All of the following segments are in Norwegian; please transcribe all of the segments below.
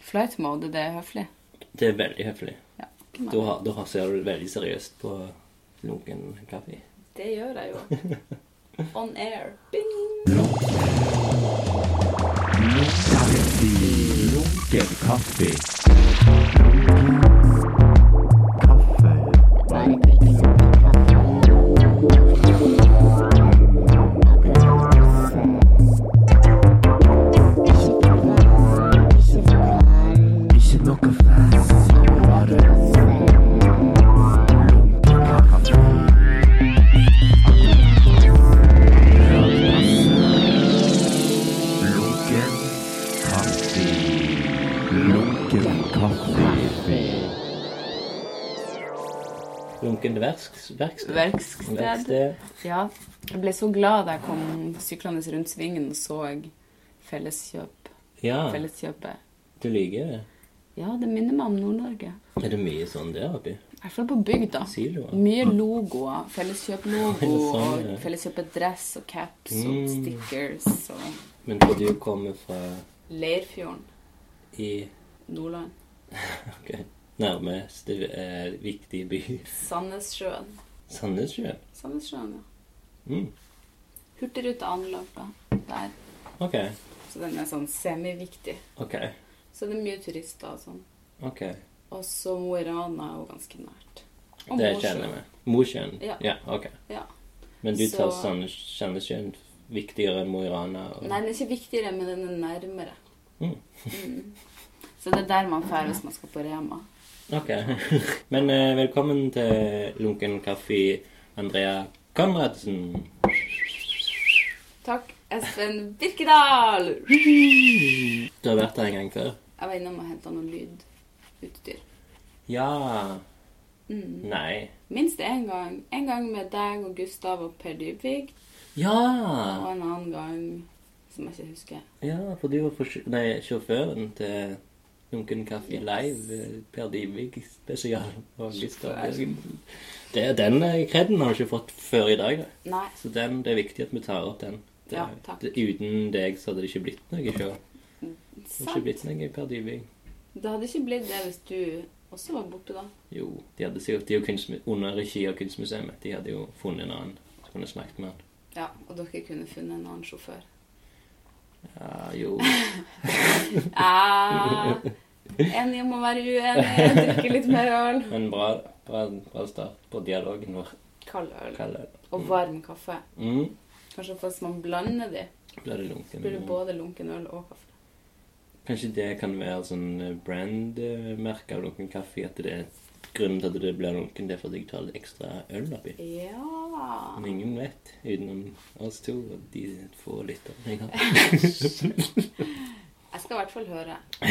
flight mode, det er høflig. Det er veldig høflig. Ja. Da, har- da har- ser du veldig seriøst på lunken kaffe. Det gjør jeg jo. On air. Bing! Lunken kaffe. Kaffe. Ikke noe fast, bare lunken kaffe. Lunken kaffe. Lunken kaffe. Lunken verks- verksted. Verksted. Verksted. Ja. Jeg ble så glad da jeg kom syklende rundt svingen og så felleskjøp. Ja, Felleskjøpet. du liker det. Ja, det minner meg om Nord-Norge. Er det mye sånn der oppi? I hvert fall på bygda. Siloer. Mye logoer. Felleskjøp-logo Ah. Sånn, og ja. Felleskjøpet-dress og caps Mm. og stickers og Men for du kommer fra Leirfjorden. i Nordland. ok, nærmeste eh, viktig by. Sandnessjøen. Sandnessjøen. Sandnessjøen, ja. Mm. Hurtigruta anløp da. Der. Ok, Så den er sånn semiviktig. ok, Så det er mye turister og sånn. ok. Og så Mo i Rana er jo ganske nært. Og Det Mosjøen. kjenner vi. Mosjøen? Ja. ok. Ja. Men du tar Så- Sand- Sandnessjøen viktigere enn Mo i Rana? og- Nei, den er ikke viktigere, men den er nærmere. Mm. Mm. Så det er der man drar hvis man skal på Rema. Ok. Men eh, velkommen til Lunken kaffe, Andrea Konradsen. Takk, Espen Birkedal! Du har vært her en gang før? Jeg var innom og henta noe lydutstyr. Ja. Mm. Nei. Minst én gang. En gang med deg og Gustav og Per Dybvig. Og Ja! en annen gang som jeg ikke husker. Ja, for du var forsj- nei, sjåføren til Lunken kaffe live, eh, Per Dybvig spesial. og Gustav Bjørgen. Det er den eh, kreden har du ikke fått før i dag. da. Nei. Så den, det er viktig at vi tar opp den. Det, Ja, takk. det, uten deg så hadde det ikke blitt noe show. Det hadde ikke Sant. blitt noe Per Dybvig. Det hadde ikke blitt det hvis du også var borte da. Jo, de hadde sikkert de er jo kunstmu- under regi av Kunstmuseet. De hadde jo funnet en annen som kunne snakket med han. Ja, Og dere kunne funnet en annen sjåfør. Ja, jo. Ah, enig om å være uenig. Drikke litt mer øl. Men bra, bra, bra start på dialogen vår. Kald øl. Kalle det. Og varm kaffe. Mm. Kanskje hvis man blander de, Blir det lunken? blir det både lunken øl og kaffe. Kanskje det kan være sånn brandmerke av lunken kaffe? At det er grunnen til at det blir lunken, det er fordi jeg tar litt ekstra øl oppi? Ja. Men ingen vet, utenom oss to og de få lytterne jeg har. Jeg skal i hvert fall høre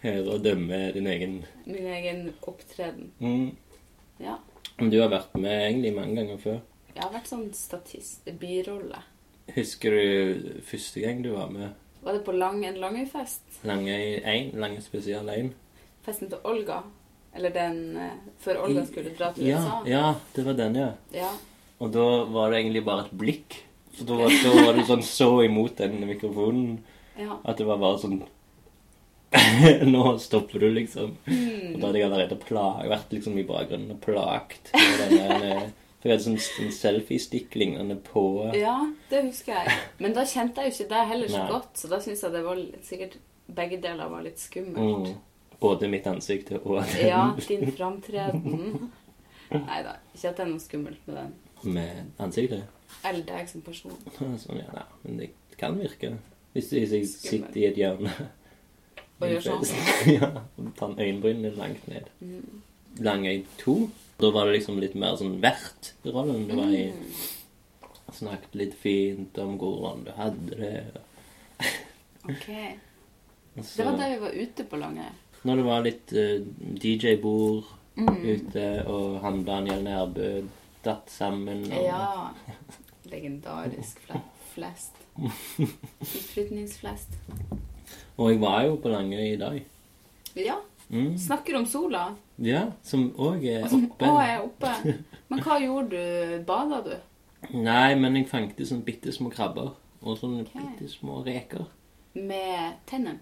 Høre og dømme din egen min egen opptreden. mm. Ja. Men Du har vært med egentlig mange ganger før. Jeg har vært sånn statist, birolle. Husker du første gang du var med? Var det på lang, en Langøyfest? Lange 1? Lange spesial 1? Festen til Olga? Eller den eh, før Olga skulle dra til ja, USA? ja, det var den, ja. Ja. Og da var det egentlig bare et blikk. For da var, da var du sånn så imot den mikrofonen ja. at det var bare sånn Nå stopper du, liksom. Hmm. Og da hadde jeg allerede pla- vært liksom i bakgrunnen og plagt. med den der, eh, For jeg hadde sånn, sånn selfiestick lignende på Ja, det husker jeg. Men da kjente jeg jo ikke deg heller så Nei. godt, så da syns jeg det var litt- sikkert begge deler var litt skummelt. mm, både mitt ansikt og den Ja, din framtreden. Nei da, ikke at det er noe skummelt med den. med ansiktet. Eller deg som person. Sånn, ja, ja. Men det kan virke. Hvis hvis jeg Skummelt. sitter i et hjørne Og gjør sånn. Mm. ja, og tar øyenbrynene langt ned. Langøy 2. Da var det liksom litt mer sånn vertrollen. Du var i Mm. Snakket litt fint om hvordan du hadde det. Ok. Og Det så, var da vi var ute på Langøy. når det var litt eh, DJ-bord Mm. ute, og han Daniel Nærbø datt sammen og Ja. Legendarisk fle- flest. Utflytningsflest. Og jeg var jo på Langøy i dag. Ja. Mm. Snakker om sola, Ja, som òg er og som oppe. òg er oppe. Men hva gjorde du? Bada du? Nei, men jeg fanget sånn bitte små krabber og sånne Ok. bitte små reker. Med tennene?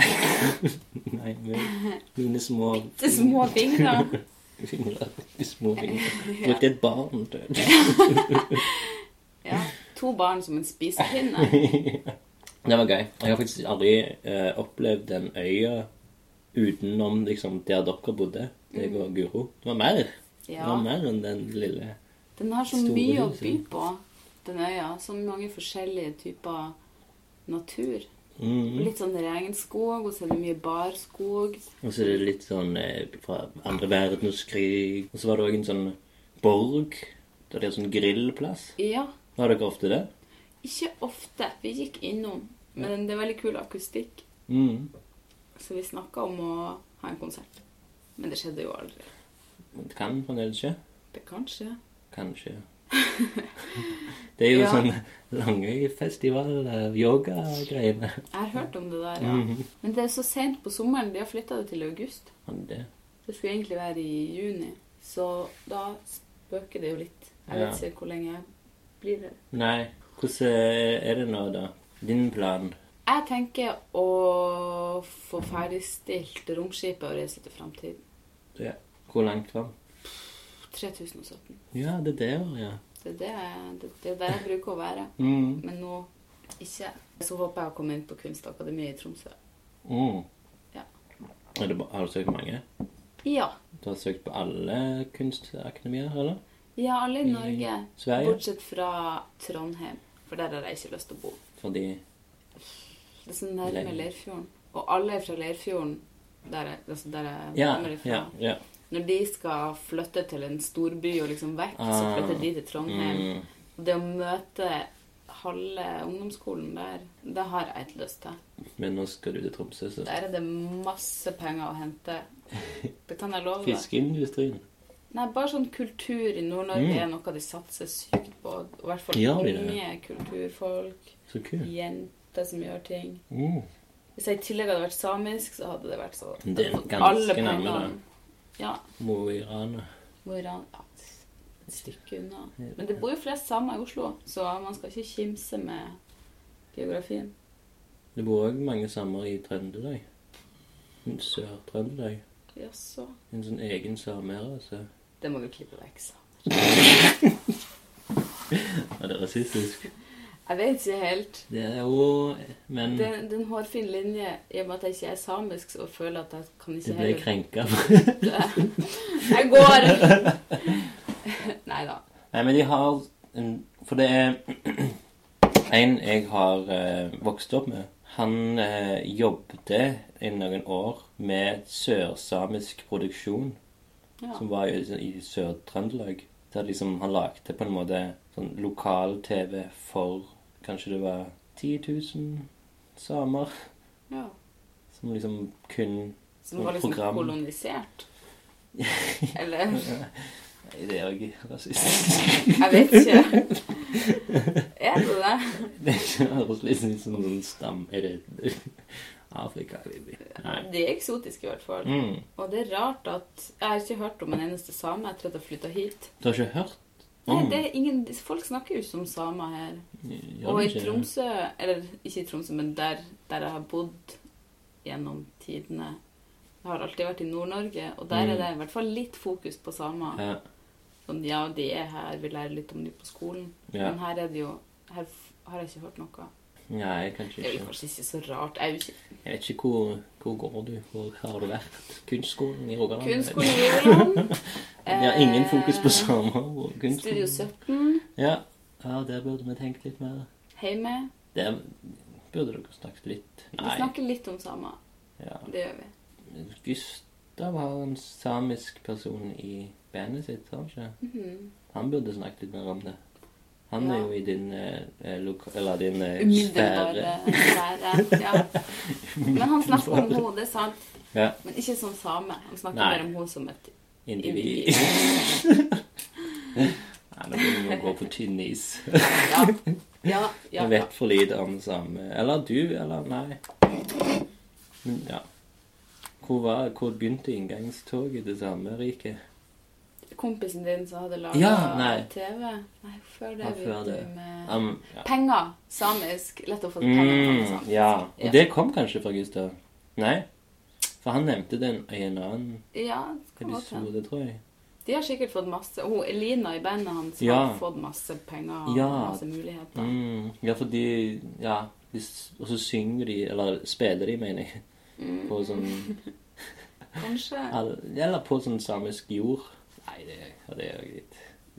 Nei, men mine små Til små fingre. fingre. Små fingre. Brukte et barn til Ja. To barn som en spisepinne. Det var gøy. Jeg har faktisk aldri eh, opplevd den øya utenom liksom, der dere bodde, deg og Guro. Det var mer. Det Mm. Ja. var mer enn den lille Den har så Store mye å hus, by ja. på, den øya. Så mange forskjellige typer natur. Og mm. litt sånn regnskog, og så er det mye barskog. Og så er det litt sånn eh, fra andre verdenskrig. Og så var det òg en sånn borg. Der det er sånn grillplass. Ja, Har dere ofte det? ikke ofte. Vi gikk innom, men det er veldig kul akustikk. Mm. Så vi snakka om å ha en konsert. Men det skjedde jo aldri. Det kan fremdeles skje. Det kanskje. Kanskje. Det er jo Ja. sånn langøyfestival, eh, yoga-greiene. Jeg har hørt om det der, ja. Mhm. Men det er så seint på sommeren. De har flytta det til august. Men det Det skulle egentlig være i juni, så da spøker det jo litt. Jeg vet Ja. ikke hvor lenge jeg blir her. Nei. Hvordan eh, er det nå, da? Din plan? Jeg tenker å få ferdigstilt romskipet og reise til framtiden. Ja. Hvor langt fram? 3017. Ja, det er der, ja. Det er, det, jeg- det, det er der jeg bruker å være. Mm. Men nå ikke. Så håper jeg å komme inn på Kunstakademiet i Tromsø. Mm. Ja. Er det, ba- har du søkt mange? Ja. Du har søkt på alle kunstakademier, eller? Ja, alle i Norge. Sverige? Bortsett fra Trondheim, for der har jeg ikke lyst til å bo. Fordi Det er så nærme Leir. Leirfjorden. Og alle er fra Leirfjorden, der jeg, altså der jeg Ja, kommer ifra. ja. ja. Når de skal flytte til en storby og liksom vekk, så Ah. flytter de til Trondheim. Mm. Og Det å møte halve ungdomsskolen der, det har jeg ikke lyst til. Men nå skal du til Tromsø, så Der er det masse penger å hente. Det kan jeg love deg. Fiskeindustrien. Nei, bare sånn kultur i Nord-Norge Mm. er noe de satser sykt på. Og I hvert fall Gjør de det? unge kulturfolk, Så kult. jenter som gjør ting. Mm. Hvis jeg i tillegg hadde vært samisk, så hadde det vært så Det er hadde fått ganske alle nærme, pengene. Ja. Mo i Rana. Mo i Rana ja, Et stykke unna. Men det bor jo flest samer i Oslo, så man skal ikke kimse med geografien. Det bor òg mange samer i Trøndelag. Sør-Trøndelag. Jaså. En sånn egen samerase. Det må du klippe vekk, sa han. Er det rasistisk? Jeg vet ikke helt. Det er jo Men Det er det er en hårfin linje. I og med at jeg ikke er samisk, så føler jeg at jeg kan du ikke ble krenka. Jeg går! Nei da. Nei, men de har en, For det er en jeg har eh, vokst opp med. Han eh, jobbet i noen år med sørsamisk produksjon, Ja. som var i, sånn, i Sør-Trøndelag. Der liksom han lagde på en måte sånn lokal-TV for kanskje det var 10 000 samer. ja. Som liksom kun Så det var liksom Program. kolonisert? Eller Nei, det er jo ikke rasistisk. Jeg vet ikke. Er det det? Det høres litt ut som en stam... Er det Afrika? Nei. De er eksotiske, i hvert fall. Mm. Og det er rart at Jeg har ikke hørt om en eneste same etter at jeg flytta hit. Du har ikke hørt Nei, om det er ingen, Folk snakker jo ikke om samer her. Gjør Og du i ikke det? Tromsø Eller ikke i Tromsø, men der, der jeg har bodd gjennom tidene. Jeg har alltid vært i Nord-Norge, og der Mm. er det i hvert fall litt fokus på samer. Ja. Sånn, ja, de er her, vi lærer litt om de på skolen. ja. Men her er det jo Her f- har jeg ikke hørt noe. Nei, kanskje Det er jo ikke. kanskje ikke så rart. Jeg er jo ikke Jeg vet ikke hvor, hvor går du, hvor har du vært? Kunstskolen i Rogaland? kunstskole i Rogaland. De har ingen Eh, fokus på samer og Studio kunstskolen. 17. Ja. ja, der burde vi tenkt litt mer. Heime. Der burde dere snakket litt. Vi Nei. snakker litt om samer. Ja. Det gjør vi. Gustav har en samisk person i bandet sitt, har han ikke? Mhm. Han burde snakket litt mer om det. Han er Ja. jo i din, eh, loka, eller din eh, sfære. Umiddelbare sfære. Ja. Men han snakker om henne, det er sant. Ja. Men ikke som same. Han snakker Nei. mer om henne som et Individ. Nei, nå begynner vi å gå på tynn is. Ja. Ja. ja, Jeg ja. vet for lite om det samme Eller du, eller nei. Men ja. Hvor, var, hvor begynte inngangstoget til samme rike? Kompisen din som hadde laga Ja, nei. TV Nei, før det Ja, før begynte det. du med Um, ja. Penger. Samisk. Lett å få penger fra det Mm, samisk. ja. Og det kom kanskje fra Gustav? Nei. For han nevnte den i en annen Ja, det kan godt hende. episode, tror jeg. De har sikkert fått masse Hun Elina i bandet hans Ja. har fått masse penger og Ja. masse muligheter. Mm, ja, for de Ja. de s- Og så synger de, eller spiller de, mener jeg, Mm. på sånn Kanskje al- Eller på sånn samisk jord. Nei, det, ja, det er jo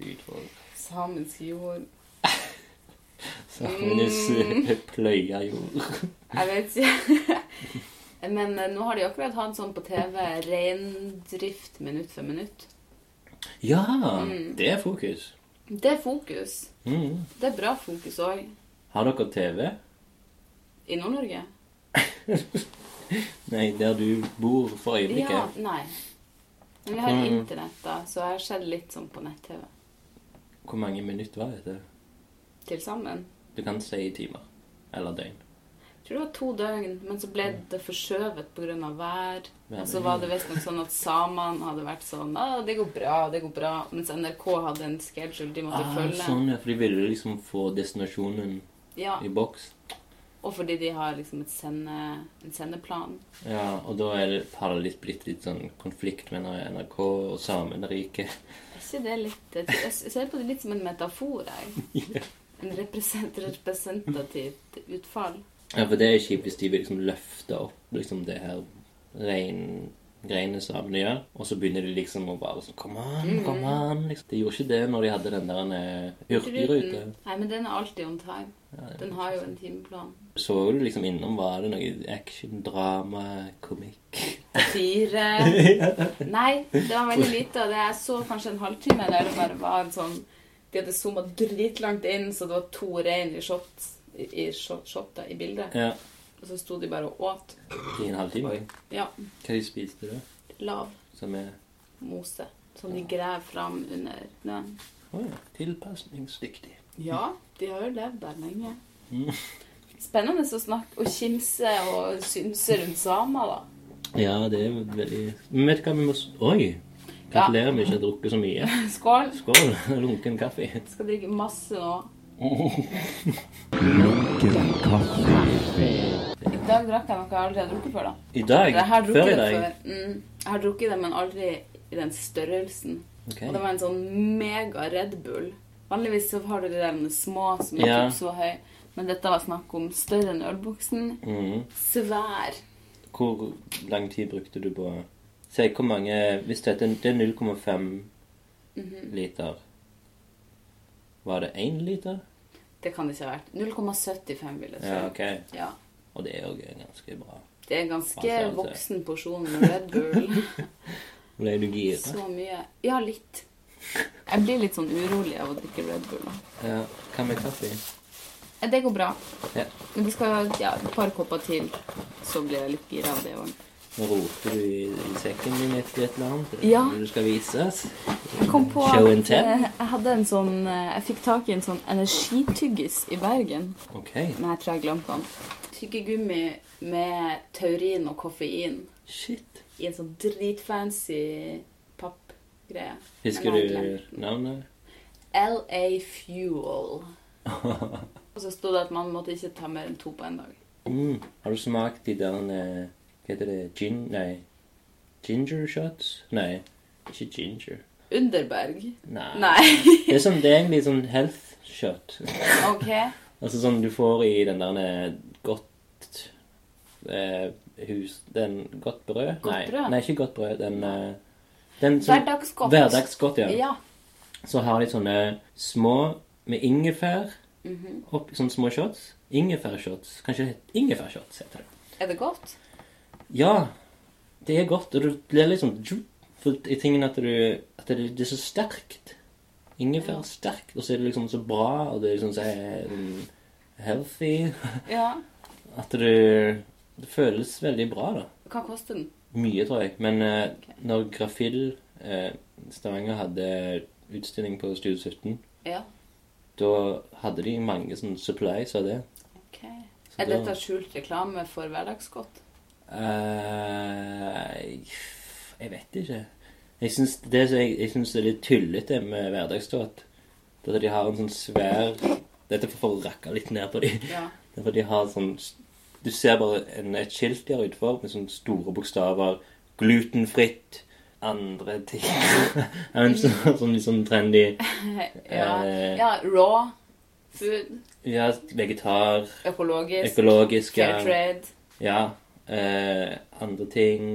litt utfordrende. samisk jord Mm. Samisk pløya jord. Jeg vet ikke. Men eh, nå har de akkurat hatt sånn på TV reindrift minutt for minutt. Ja! Mm. Det er fokus. Det er fokus. Mm. Det er bra fokus òg. Har dere TV? I Nord-Norge? Nei, der du bor for øyeblikket. Ja. Nei. Men vi har Mm. internett, da, så jeg har sett litt sånn på nett-TV. Hvor mange minutter var dette? Til sammen. Du kan si i timer. Eller døgn. Jeg tror det var to døgn, men så ble det forskjøvet pga. vær. Og så var det visstnok sånn at samene hadde vært sånn Å, det går bra, det går bra. Mens NRK hadde en schedule de måtte ah, følge. Sånn, ja, for de ville liksom få destinasjonen Ja, i boks. Og fordi de har liksom et sende, en sendeplan. Ja, og da er det har det litt blitt litt sånn konflikt mellom NRK og Sameriket. Er ikke det litt Jeg jeg ser på det litt som en metafor, jeg. En represent, representativt utfall. Ja, for det er kjipt hvis de vil liksom løfte opp liksom det her rein greiene samene gjør, og så begynner de liksom å bare sånn Kom an, kom an! Liksom. De gjorde ikke det når de hadde den der eh, hurtigrute. Ruten- Nei, men den er alltid on time. Den har jo en timeplan. Så du liksom innom var det noe action, drama, komikk? Fire eh, Nei, det var veldig lite. Og det jeg så kanskje en halvtime der det bare var en sånn De hadde zooma dritlangt inn, så det var to rein i shot, i, i shot, shotet i bildet. Ja. Og så sto de bare og åt. I en halvtime? Ja. Hva de spiste du? Lav Som er mose. Som de graver fram under snøen. oh, ja. tilpasningsdyktig. Ja, de har jo levd der lenge. Mm. Spennende å snakke og kimse og synse rundt samer, da. Ja, det er veldig Men vet du hva vi må s- Oi! Gratulerer med ikke å ha drukket så mye. Skål! Skål! Lunken kaffe. Skal drikke masse nå. Lunken kaffe. I dag drakk jeg noe jeg aldri har drukket før, da. I dag? Jeg har Før drukket i det dag? før. Mm, jeg har drukket det, men aldri i den størrelsen. Ok. Og det var en sånn mega Red Bull. Vanligvis så har du de der små som er Ja. typ så høy, men dette var snakk om større enn ølbuksen. Mhm. Svær. Hvor lang tid brukte du på Se hvor mange Hvis dette det er 0,5 Mhm. liter Var det 1 liter? Det kan det ikke ha vært. 0,75 vil jeg si. Ja, ok. Ja. Og det er jo ganske bra. Det er en ganske Altså, altså. voksen porsjon med Red Bull. Ble du gira? Så mye. Ja, litt. Jeg blir litt sånn urolig av å drikke Red Bull. da. Ja. Hva med kaffe? Eh, Det går bra. Ja. Men det skal ja, et par kopper til, så blir jeg litt gira av det òg. Nå roter du i, i sekken din etter et eller annet. Ja. Du skal vises. Jeg kom på Show and at tell. eh, jeg hadde en sånn eh, Jeg fikk tak i en sånn energityggis i Bergen. Ok. Men jeg tror jeg glemte den. Tyggegummi med taurin og koffein Shit. i en sånn dritfancy pappgreie. Husker Men jeg har du glemt den. navnet? LA Fuel. Og så sto det at man måtte ikke ta mer enn to på en dag. Mm. Har du smakt de der eh, Hva heter det? Gin... Nei. Ginger shots? Nei. Ikke ginger. Underberg? Nei. Nei. Det er, sånn, det er egentlig sånn health shot. OK. Altså sånn du får i den der eh, godt eh, hus... Den godt brød? Godt nei, brød? nei, ikke godt brød. Den, eh, den som- Hverdagsgodt. Hverdagsgodt, sånn ja. Ja. Så har de sånne små med ingefær. Mhm. opp, sånne små shots. Ingefærshots. Kanskje det heter ingefærshots, heter det. Er det godt? Ja, det er godt, og du blir liksom For i tingen at, du, at det, det er så sterkt. Ingefær er sterkt, og så er det liksom så bra, og det er liksom så eh, healthy Ja. At du Det føles veldig bra, da. Hva koster den? Mye, tror jeg. Men eh, Ok. når Grafill eh, Stavanger hadde utstilling på Studio 17, Ja. da hadde de mange sånne supplies av det. OK. Så Er da- dette skjult reklame for hverdagsgodt? Eh, jeg vet ikke. Jeg syns det, som jeg, jeg synes det er litt tullete med hverdagsdåd. Det er at de har en sånn svær Dette er for å rakke litt ned på dem. Ja. Det er fordi de har sånn s- Du ser bare en, et skilt de har utenfor med sånne store bokstaver. Glutenfritt. Andre ting. en sånn, sånn litt sånn trendy Ja, Eh. ja raw food, Ja, vegetar, økologisk, økologisk fair Ja. trade, ja eh, andre ting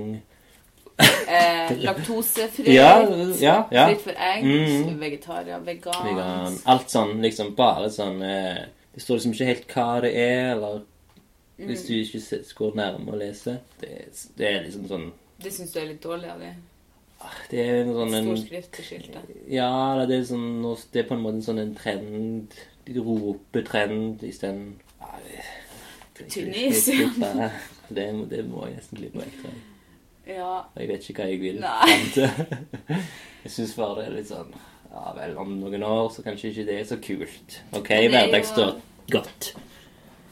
eh, laktosefri, Ja, ja. ja. fritt for egg, Mm. vegetarier, vegan. Vegan. Alt sånn, liksom bare sånn eh, Det står liksom ikke helt hva det er, eller Hvis du ikke se- går nærme å lese. Det, er- det er liksom sånn Det syns du er litt dårlig av det? Det er en sånn en Stor skrift til skiltet. Ja, eller det er sånn nå- Det er på en måte en sånn en trend De roper trend isteden Ja, det- Tunisia. Det, må- det må jeg nesten klippe vekk. tror jeg. Ja. Jeg vet ikke hva jeg vil. Nei. fram til. Jeg syns bare det er litt sånn Ja vel, om noen år så kanskje ikke det er så kult. OK, Men det er jo- hverdagsstøt. Godt.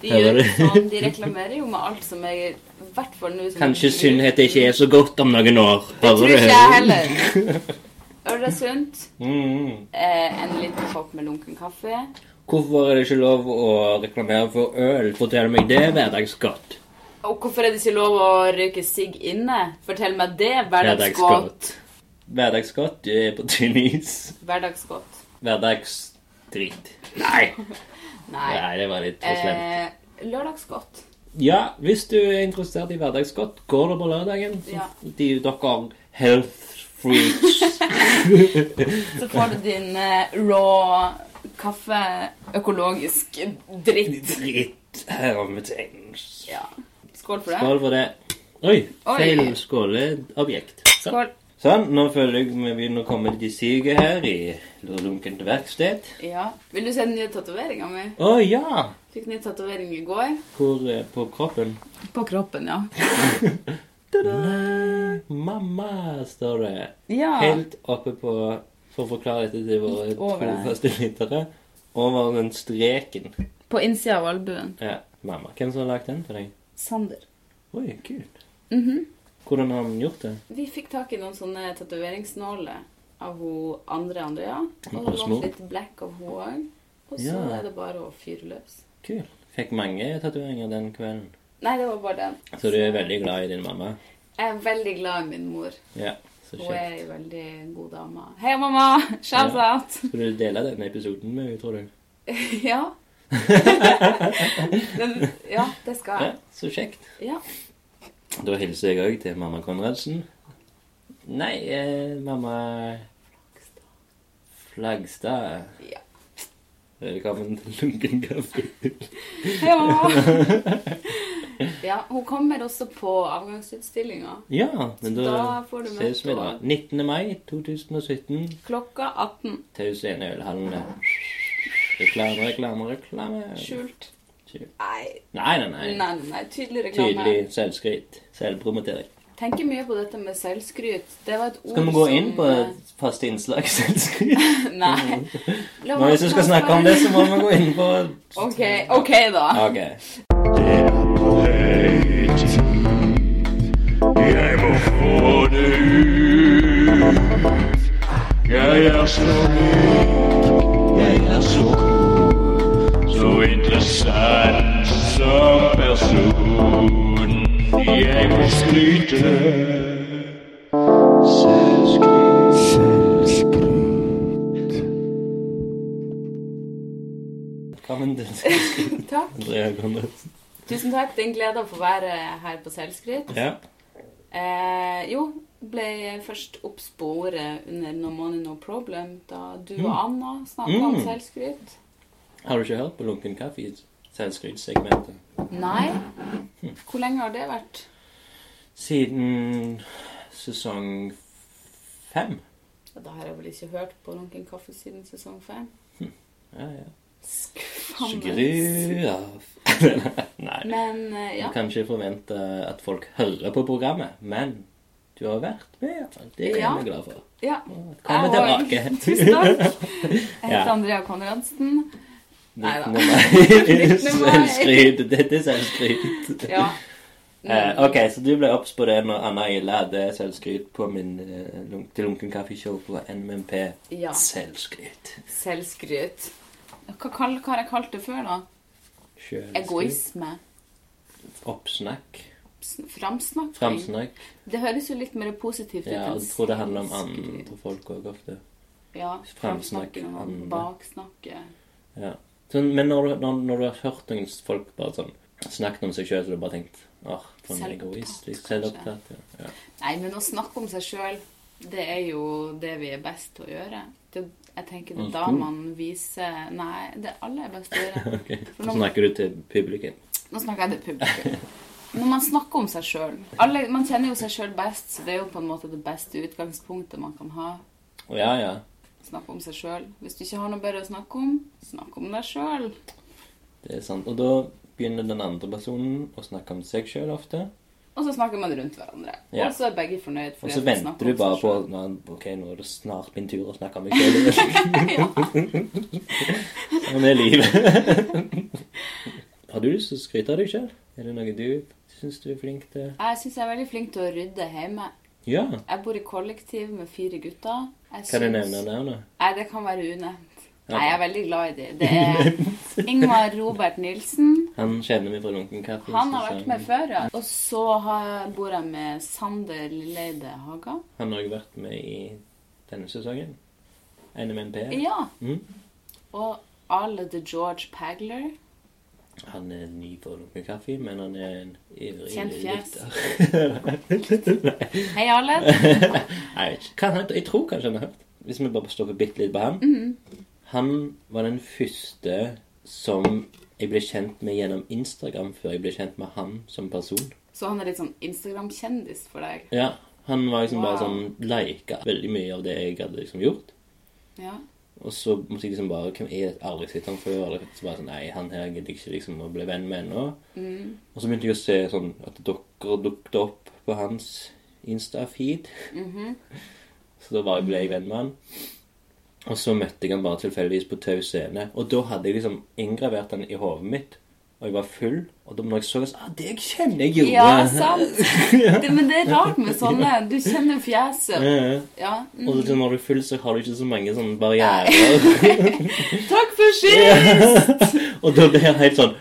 De Her var gjør det. jo sånn, de reklamerer jo med alt som jeg I hvert fall nå som Kanskje sunnhet ikke er så godt om noen år. Det tror ikke jeg heller. Øresund. Mm. Eh, en liten kopp med lunken kaffe. Hvorfor er det ikke lov å reklamere for øl? Fortell meg det, hverdagsgodt. Og hvorfor er det ikke lov å røyke sigg inne? Fortell meg det. Hverdagsgodt. Hverdagsgodt. Hverdagsgodt det er på tynn is. Hverdagsgodt. Hverdagsdrit. Nei. Nei. Nei, det var litt for slemt. Eh, lørdagsgodt. Ja, hvis du er interessert i hverdagsgodt, går det på lørdagen. Så Ja. de, dere health freaks. Så får du din eh, raw kaffe, økologisk dritt. Dritt hermetegn. Ja. Skål for det. Skål for det. Oi, Oi. feil skåleobjekt. Sånn. Skål. Sånn, nå føler jeg vi begynner å komme litt i siget her i lunkent verksted. Ja. Vil du se den nye tatoveringa mi? Å ja! Fikk ny tatovering i går. Hvor eh, på kroppen? På kroppen, ja. Nei, mamma, står det. Ja. Helt oppe på For å forklare dette til våre Litt to over der. første lyttere. Over den streken. På innsida av albuen. Ja, mamma. Hvem som har lagd den til deg? Sander. Mhm. Oi, kult. Hvordan har han gjort det? Vi fikk tak i noen sånne tatoveringsnåler av hun andre Andrea. Og det Osmo. lå litt black av hun òg. Og så Ja. er det bare å fyre løs. Kul. Fikk mange tatoveringer den kvelden. Nei, det var bare den. Så du er veldig glad i din mamma? Jeg er veldig glad i min mor. Ja, så Hun er kjekt. ei veldig god dame. Hei, mamma! Shout-out! Skal du dele denne episoden med henne, tror du? Ja. Den, ja, det skal Ja, jeg. så kjekt. Ja. Da hilser jeg òg til mamma Konradsen. Nei, eh, mamma Flagstad. Ja. Velkommen til Lunken kaffe. Hei, mamma! Ja, hun kommer også på avgangsutstillinga. Ja, men da, Da får du ses vi møte da. henne. 19. mai 2017. Klokka 18. Taus ene ølhallene. Reklame, reklame, reklame. Skjult. Skjult. Nei, Nei, nei, nei, nei. nei. nei. Tydelig reklame. Tydelig selvskryt. Selvpromotering. Tenker mye på dette med selvskryt. Det var et ord Skal vi gå inn som- eh, på Mm. faste innslag selvskryt? Nei. La Når vi så skal snakke om det, så må vi gå inn på OK, ok da. Ok. Det er på høy tid. Jeg må få det ut. Jeg er så myk, jeg er så god, så interessant som person. Jeg må skryte. Selvskryt. Selvskryt. Velkommen til selvskryt. Takk. Andrea Konradsen. Tusen takk. Det er en glede å få være her på selvskryt. Ja. Eh, jo, ble først obs på ordet under No Money No Problem da du og Anna snakka om Mm. selvskryt. Har du ikke hørt på Lunken kaffe i selvskrytsegmentet? Nei. Hvor lenge har det vært? Siden sesong fem. Ja, Da har jeg vel ikke hørt på Runken kaffe siden sesong fem. Ja, ja. Skuffende. Skru av. Nei. Men eh, ja. Du kan ikke forvente at folk hører på programmet, men du har vært med. i hvert fall. Det er Ja. vi glad for. ja. Kom Jeg var- tilbake. Tusen takk. Jeg heter Ja. Andrea Konradsen. Neida. 19. mai. 19. mai. Selvskryt. Dette er selvskryt. Ja. Eh, Mm. ok, så du ble obs på det når Anna Ille hadde selvskryt på min eh, lunk- til Lunken kaffeshow på NMP. ja. Selvskryt. Selvskryt. Hva, kall, hva har jeg kalt det før, da? Selvskryt. Egoisme. Oppsnakk. Framsnakking. Framsnakk. Det høres jo litt mer positivt ut Ja, enn jeg tror det handler om snakkeri. andre folk òg ofte. Ja, Framsnakk, framsnakking og andre. baksnakke. Ja. Sånn, men når du, når, når du har hørt noen folk bare sånn snakket om seg sjøl, så har du bare tenkt åh, for en Selvopptatt, egoistisk kanskje. selvopptatt. Ja. Ja. Nei, men å snakke om seg sjøl, det er jo det vi er best til å gjøre. Det, jeg tenker det er da Mhm. man viser Nei, det alle er best til å gjøre. Ok. For Så når- snakker du til publikum. Nå snakker jeg til publikum. Når man snakker om seg sjøl Man kjenner jo seg sjøl best, så det er jo på en måte det beste utgangspunktet man kan ha. Å ja, ja. Snakke om seg sjøl. Hvis du ikke har noe bedre å snakke om, snakk om deg sjøl. Det er sant. Og da begynner den andre personen å snakke om seg sjøl ofte. Og så snakker man rundt hverandre. Ja. Og så er begge fornøyd. Og fordi så at man snakker venter du om bare seg på selv. nå, Ok, nå er det snart min tur å snakke om meg sjøl. Sånn er livet. Har du lyst til å skryte av deg sjøl? Er det noe du syns du er flink til? Jeg syns jeg er veldig flink til å rydde hjemme. Ja. Jeg bor i kollektiv med fire gutter. Jeg Kan du syns- nevne navnet? Nei, det kan være unevnt. Ja. Nei, jeg er veldig glad i de. Det er Ingmar Robert Nilsen. Han kjenner vi fra Lunken kaffe. Han så har vært han- med før, ja. Og så har, bor jeg med Sander Lilleide Haga. Han har jo vært med i denne sesongen. NMNP. Ja. Mm. Og Ale the George Pagler. Han er ny på Lunken kaffe, men han er en ivrig Kjent fjes. lytter. Hei, Ale. Nei, Jeg vet ikke. Hva han heter? Jeg tror kanskje han har hørt. Hvis vi bare stopper bitte litt på han. Han var den første som jeg ble kjent med gjennom Instagram før jeg ble kjent med han som person. Så han er litt sånn Instagram-kjendis for deg. Ja, Han var liksom bare Wow. sånn lika veldig mye av det jeg hadde liksom gjort. Ja. Og så måtte jeg liksom bare Hvem er det aldri sett han før? Eller så bare sånn, Nei, han her gidder jeg ikke liksom å bli venn med ennå. Mm. Og så begynte jeg å se sånn at dere dukket opp på hans Insta-feed. Mhm. Så da bare ble jeg venn med han. Og så møtte jeg han bare tilfeldigvis på Tau scene. Og da hadde jeg liksom inngravert han i hodet mitt. Og jeg var full. Og da når jeg så han, så ah, det kjenner jeg jo! Ja, sant. Det, men det er rart med sånne. Du kjenner fjeset. Ja, ja. Ja. mm. Og så når du er full, så har du ikke så mange sånne barrierer. Takk for sist! Og da blir han helt sånn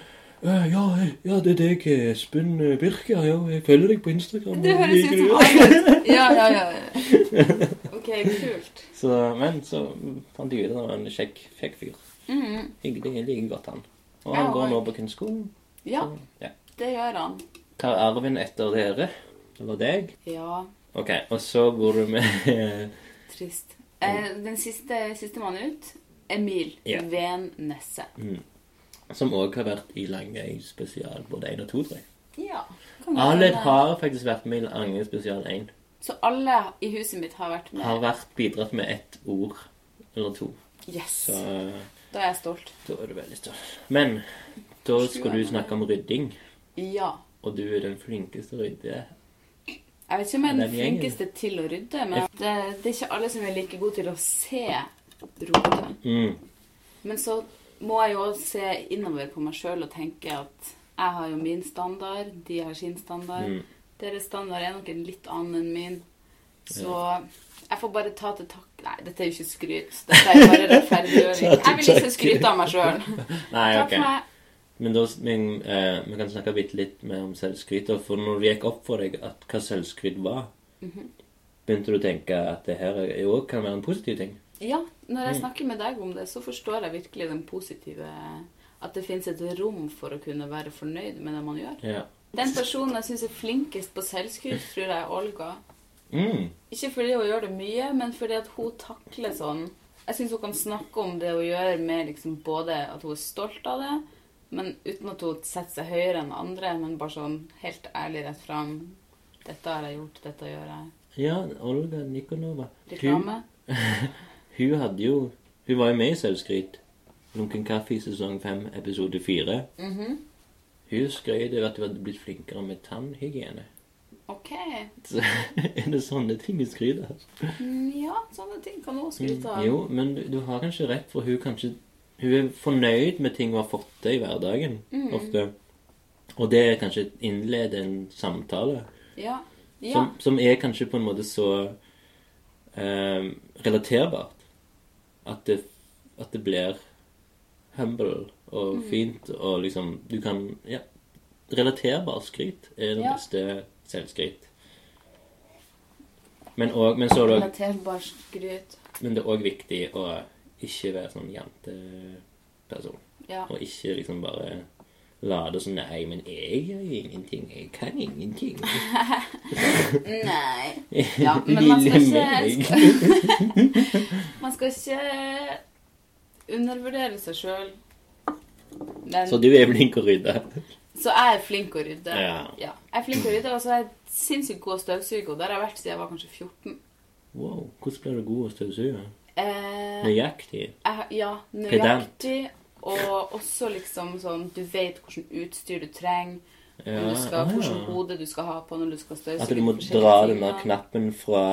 «Øh, ja, hei, ja, det er deg, Espen eh, Birke. Ja, jeg følger deg på Instagram. Det og høres ut liker som det». alle. Ja, ja, ja. OK, kult. Så, Men så fant jeg ut at han var en kjekk, kjekk fyr. Mhm. Hyggelig. Jeg liker godt han. Og Ja, han går nå og- på kunstskolen. Ja, Ja. det gjør han. Tar arven etter dere. Det var deg. Ja, Ok, og så bor du med trist. Eh, den siste sistemann ut Emil Ja. Ven Nesse. mm, Som òg har vært i Langøy spesial både 1 og 2, tror jeg. Ja. kan jeg Aled nevne. har faktisk vært med i Langøy spesial 1. Så alle i huset mitt har vært med? Har vært bidratt med ett ord eller to. Yes. Så Da er jeg stolt. da er du veldig stolt. Men da skal du snakke om rydding, Ja. og du er den flinkeste rydder. Jeg vet ikke om jeg er Ja, den den gjengen. flinkeste til å rydde, men det, det er ikke alle som er like gode til å se rotet. Mm. Men så må jeg jo se innover på meg sjøl og tenke at jeg har jo min standard, de har sin standard. Mm. Deres standard er nok en litt annen enn min. Så jeg får bare ta til takk Nei, dette er jo ikke skryt. Dette er jo bare rettferdiggjøring. Ta Jeg til vil ikke takke. skryte av meg sjøl. Nei, Takk ok. for meg. Men da men, eh, vi kan snakke bitte litt mer om selvskryt. da, For når det gikk opp for deg at hva selvskryt var, Mhm. begynte du å tenke at det her òg kan være en positiv ting? Ja, når Mm. jeg snakker med deg om det, så forstår jeg virkelig den positive At det fins et rom for å kunne være fornøyd med det man gjør. Ja. Den personen jeg syns er flinkest på selvskryt, tror jeg er Olga. Mm. Ikke fordi hun gjør det mye, men fordi at hun takler sånn Jeg syns hun kan snakke om det hun gjør, med liksom både at hun er stolt av det, men uten at hun setter seg høyere enn andre, men bare sånn helt ærlig rett fram. Dette har jeg gjort, dette gjør jeg. ja, Olga Nikonova. Reklame. hun hadde jo Hun var jo med i Selvskryt. Lunken kaffe i sesong 5, episode 4. Hun skrøt av at hun hadde blitt flinkere med tannhygiene. OK. Så er det sånne ting hun skryter av? Mm, Ja, sånne ting kan hun skryte av. Jo, men du, du har kanskje rett, for hun kanskje Hun er fornøyd med ting hun har fått til i hverdagen, ofte. Og det er kanskje innlede en samtale Ja. ja. som, som er kanskje på en måte så eh, relaterbart at det, at Mm. det blir humble og fint, og liksom Du kan Ja, relaterbar skryt er det Ja. beste selvskryt. Men, og, men, så er det, også- Relaterbar skryt. men det er òg viktig å ikke være sånn janteperson. Ja. Og ikke liksom bare late som Nei, men jeg gjør ingenting. Jeg kan ingenting. Nei. Ja, men man skal Lille ikke meg. Man skal ikke undervurdere seg sjøl. Men Så du er flink å rydde. Så jeg er flink å rydde. Ja. Jeg er flink å rydde, og så er jeg sinnssykt god støvsuger. og Der har jeg vært siden jeg var kanskje 14. Wow, hvordan blir du god å støvsuge? Eh, Nøyaktig. jeg, ja, Pedant. nøyaktig. Og også liksom sånn Du vet hhvordan utstyr du trenger. Ja, om du skal, ah, ja. Hvilket hode du skal ha på når du skal støvsuge. At du må forskjellige dra ting, den der ja. knappen fra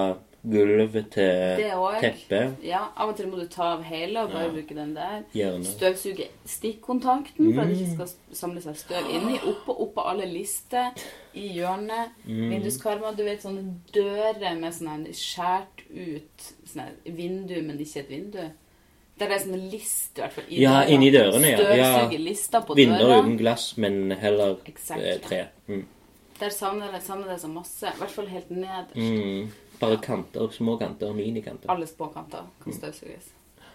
gulvet til Det også. teppet. Ja, Av og til må du ta av hele og bare Ja. bruke den der. Gjerne. Støvsuge stikkontakten, for at det Mm. ikke skal samle seg støv inni. Oppå oppå alle lister, i hjørnet. Mm. Vinduskarmer. Du vet sånne dører med sånn her skjært ut sånn her vindu, men ikke et vindu. Der det er sånne list, i hvert fall. i Ja, døra. inni dørene, ja. Ja. Støvsuge lister på Vinduer døra. uten glass, men heller Exakt. eh, tre. Mm. Der savner det, savner det så masse. I hvert fall helt nederst. Mm. Bare kanter, små kanter, minikanter. Alle spåkanter Mm. kan støvsuges.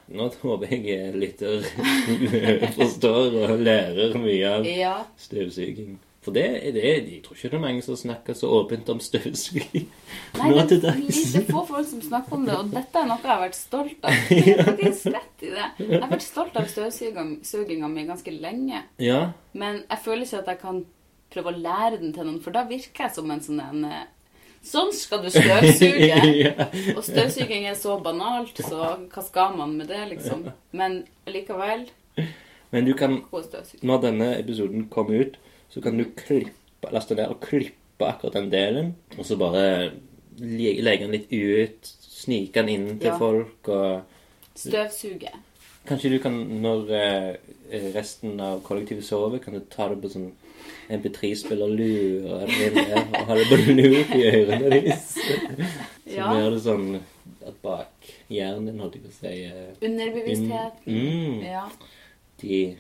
Nå håper jeg lytter forstår og lærer mye av Ja. støvsuging. For det er det, jeg tror ikke det er mange som snakker så åpent om støvsuging Nei, nå til det er dags. lite få folk som snakker om det, og dette er noe jeg har vært stolt av. Jeg har faktisk rett i det. Jeg har vært stolt av støvsuginga mi ganske lenge, Ja, men jeg føler ikke at jeg kan prøve å lære den til noen, for da virker jeg som en sånn en eh, Sånn skal du støvsuge! ja. Og støvsuging er så banalt, så hva skal man med det, liksom? Men likevel Men du kan, god støvsuging. når denne episoden kommer ut, så kan du klippe, laste ned og klippe akkurat den delen, og så bare le- legge den litt ut, snike den inn til Ja. folk, og Støvsuge. kanskje du kan, når eh, resten av kollektivet sover, kan du ta det på sånn MP3-spiller lure det inn der, og ha det på lur i ørene deres. Så Ja. blir det sånn at bak hjernen din, holdt jeg på å si, eh, Underbevisstheten. Mm. Ja. de,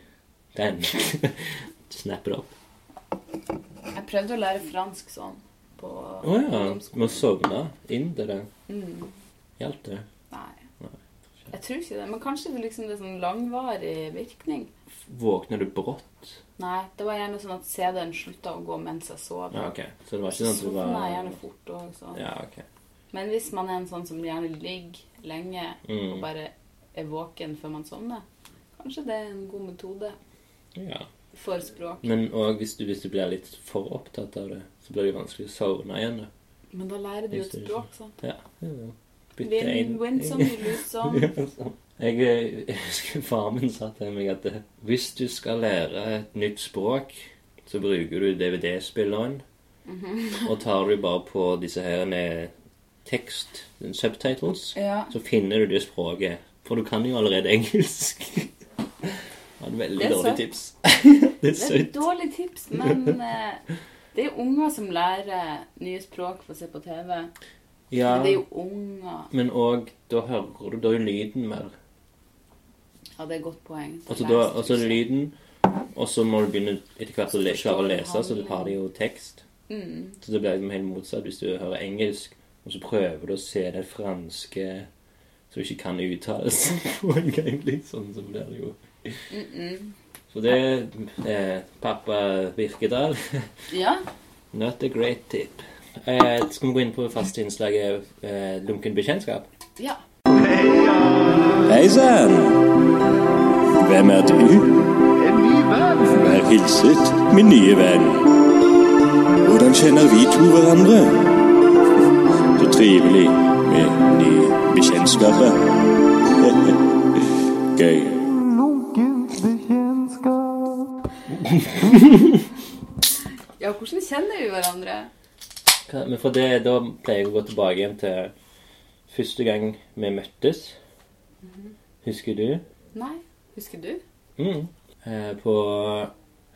den snapper det opp. Jeg prøvde å lære fransk sånn på Å ja. Må sovne inn til det. Mm. Hjalp det? Nei. Nei, Jeg tror ikke det. Men kanskje det liksom det er sånn langvarig virkning. Våkner du brått? Nei, det var gjerne sånn at CD-en slutta å gå mens jeg sov. Ja, ok. Så det var ikke sånn at du var Sovna jeg gjerne fort også, sånn. Ja, ok. Men hvis man er en sånn som gjerne ligger lenge og Mm. bare er våken før man sovner, kanskje det er en god metode Ja. for språk. Men òg hvis, du- hvis du blir litt for opptatt av det, så blir det vanskelig å sovne igjen. da. Men da lærer du jo et språk, sant. Ja. Mm. ja. Win, win some, you lose some. Jeg, eh, jeg husker faren min sa til meg at eh, hvis du skal lære et nytt språk, så bruker du DVD-spilleren, Mhm. og tar du bare på disse her eh, tekst, subtitles, Ja. så finner du det språket. For du kan jo allerede engelsk. Det var et veldig Det er dårlig søtt. tips. Det er Det er et søtt. dårlig tips, men eh, det er jo unger som lærer nye språk for å se på TV. Ja, Men det er jo unger. men òg da hører du da er lyden mer. Ja, det er et godt poeng. Altså, da, altså lyden, og så må du begynne etter hvert å le- klare å lese, så du har det jo tekst. Mm. Så det blir liksom helt motsatt hvis du hører engelsk, og så prøver du å se det franske som ikke kan uttales på en gang, liksom, så blir det jo Mm -mm. Så det eh, Pappa Birkedal, Ja. not a great tip. Eh, skal vi gå inn på faste innslaget eh, lunken bekjentskap? ja. Hei sann! Hvem er du? Vær hilset, min nye venn. Hvordan kjenner vi to hverandre? Så trivelig med nye bekjentskaper. Gøy. ja, hvordan kjenner vi hverandre? Hva- Men for det, da pleier jeg å gå tilbake igjen til første gang vi møttes. Husker du? Nei, husker du? Mm. Eh, på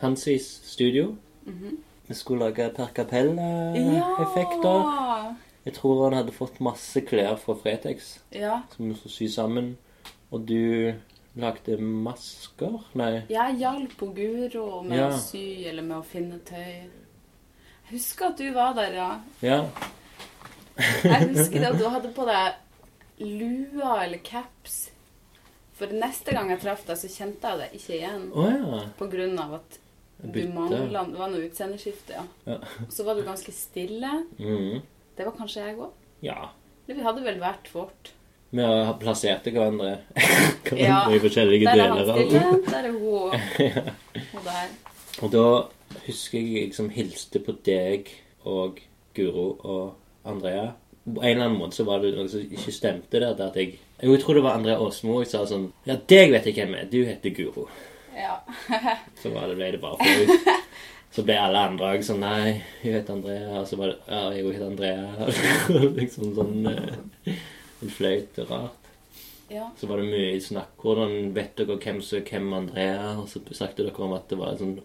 Hansis studio. Mhm. Vi skulle lage per Eh, cappella-effekter. Jeg tror han hadde fått masse klær fra Fretex Ja. som vi skulle sy sammen. Og du lagde masker? Nei. Jeg hjalp på Guro med Ja. å sy eller med å finne tøy. Jeg husker at du var der, ja. Ja. Jeg husker det at du hadde på deg lua eller caps. For neste gang jeg traff deg, så kjente jeg deg ikke igjen. Å ja. På grunn av at du Bytte. mangla Det var noe utseendeskifte, ja. Ja. Og Så var du ganske stille. Mm. Det var kanskje jeg òg. ja. Vi hadde vel hvert vårt. Vi har plassert hverandre, hverandre Ja. i forskjellige Der er han deler av stille, der er hun. Og der. Og da husker jeg jeg liksom hilste på deg og Guro og Andrea. På en eller annen måte så var det noe som ikke stemte der. der at jeg, jo, jeg tror det var Andrea Åsmo. Jeg sa sånn Ja, deg vet jeg hvem er. Du heter Guro. Ja. Så var det, ble det bare for meg. Så ble alle andre også sånn Nei, jeg heter Andrea. Og så var det Ja, jeg heter Andrea. liksom sånn eh, Det fløyt rart. Ja. Så var det mye snakk. Hvordan vet dere hvem som er hvem Andrea? Og så snakket dere om at det var en sånn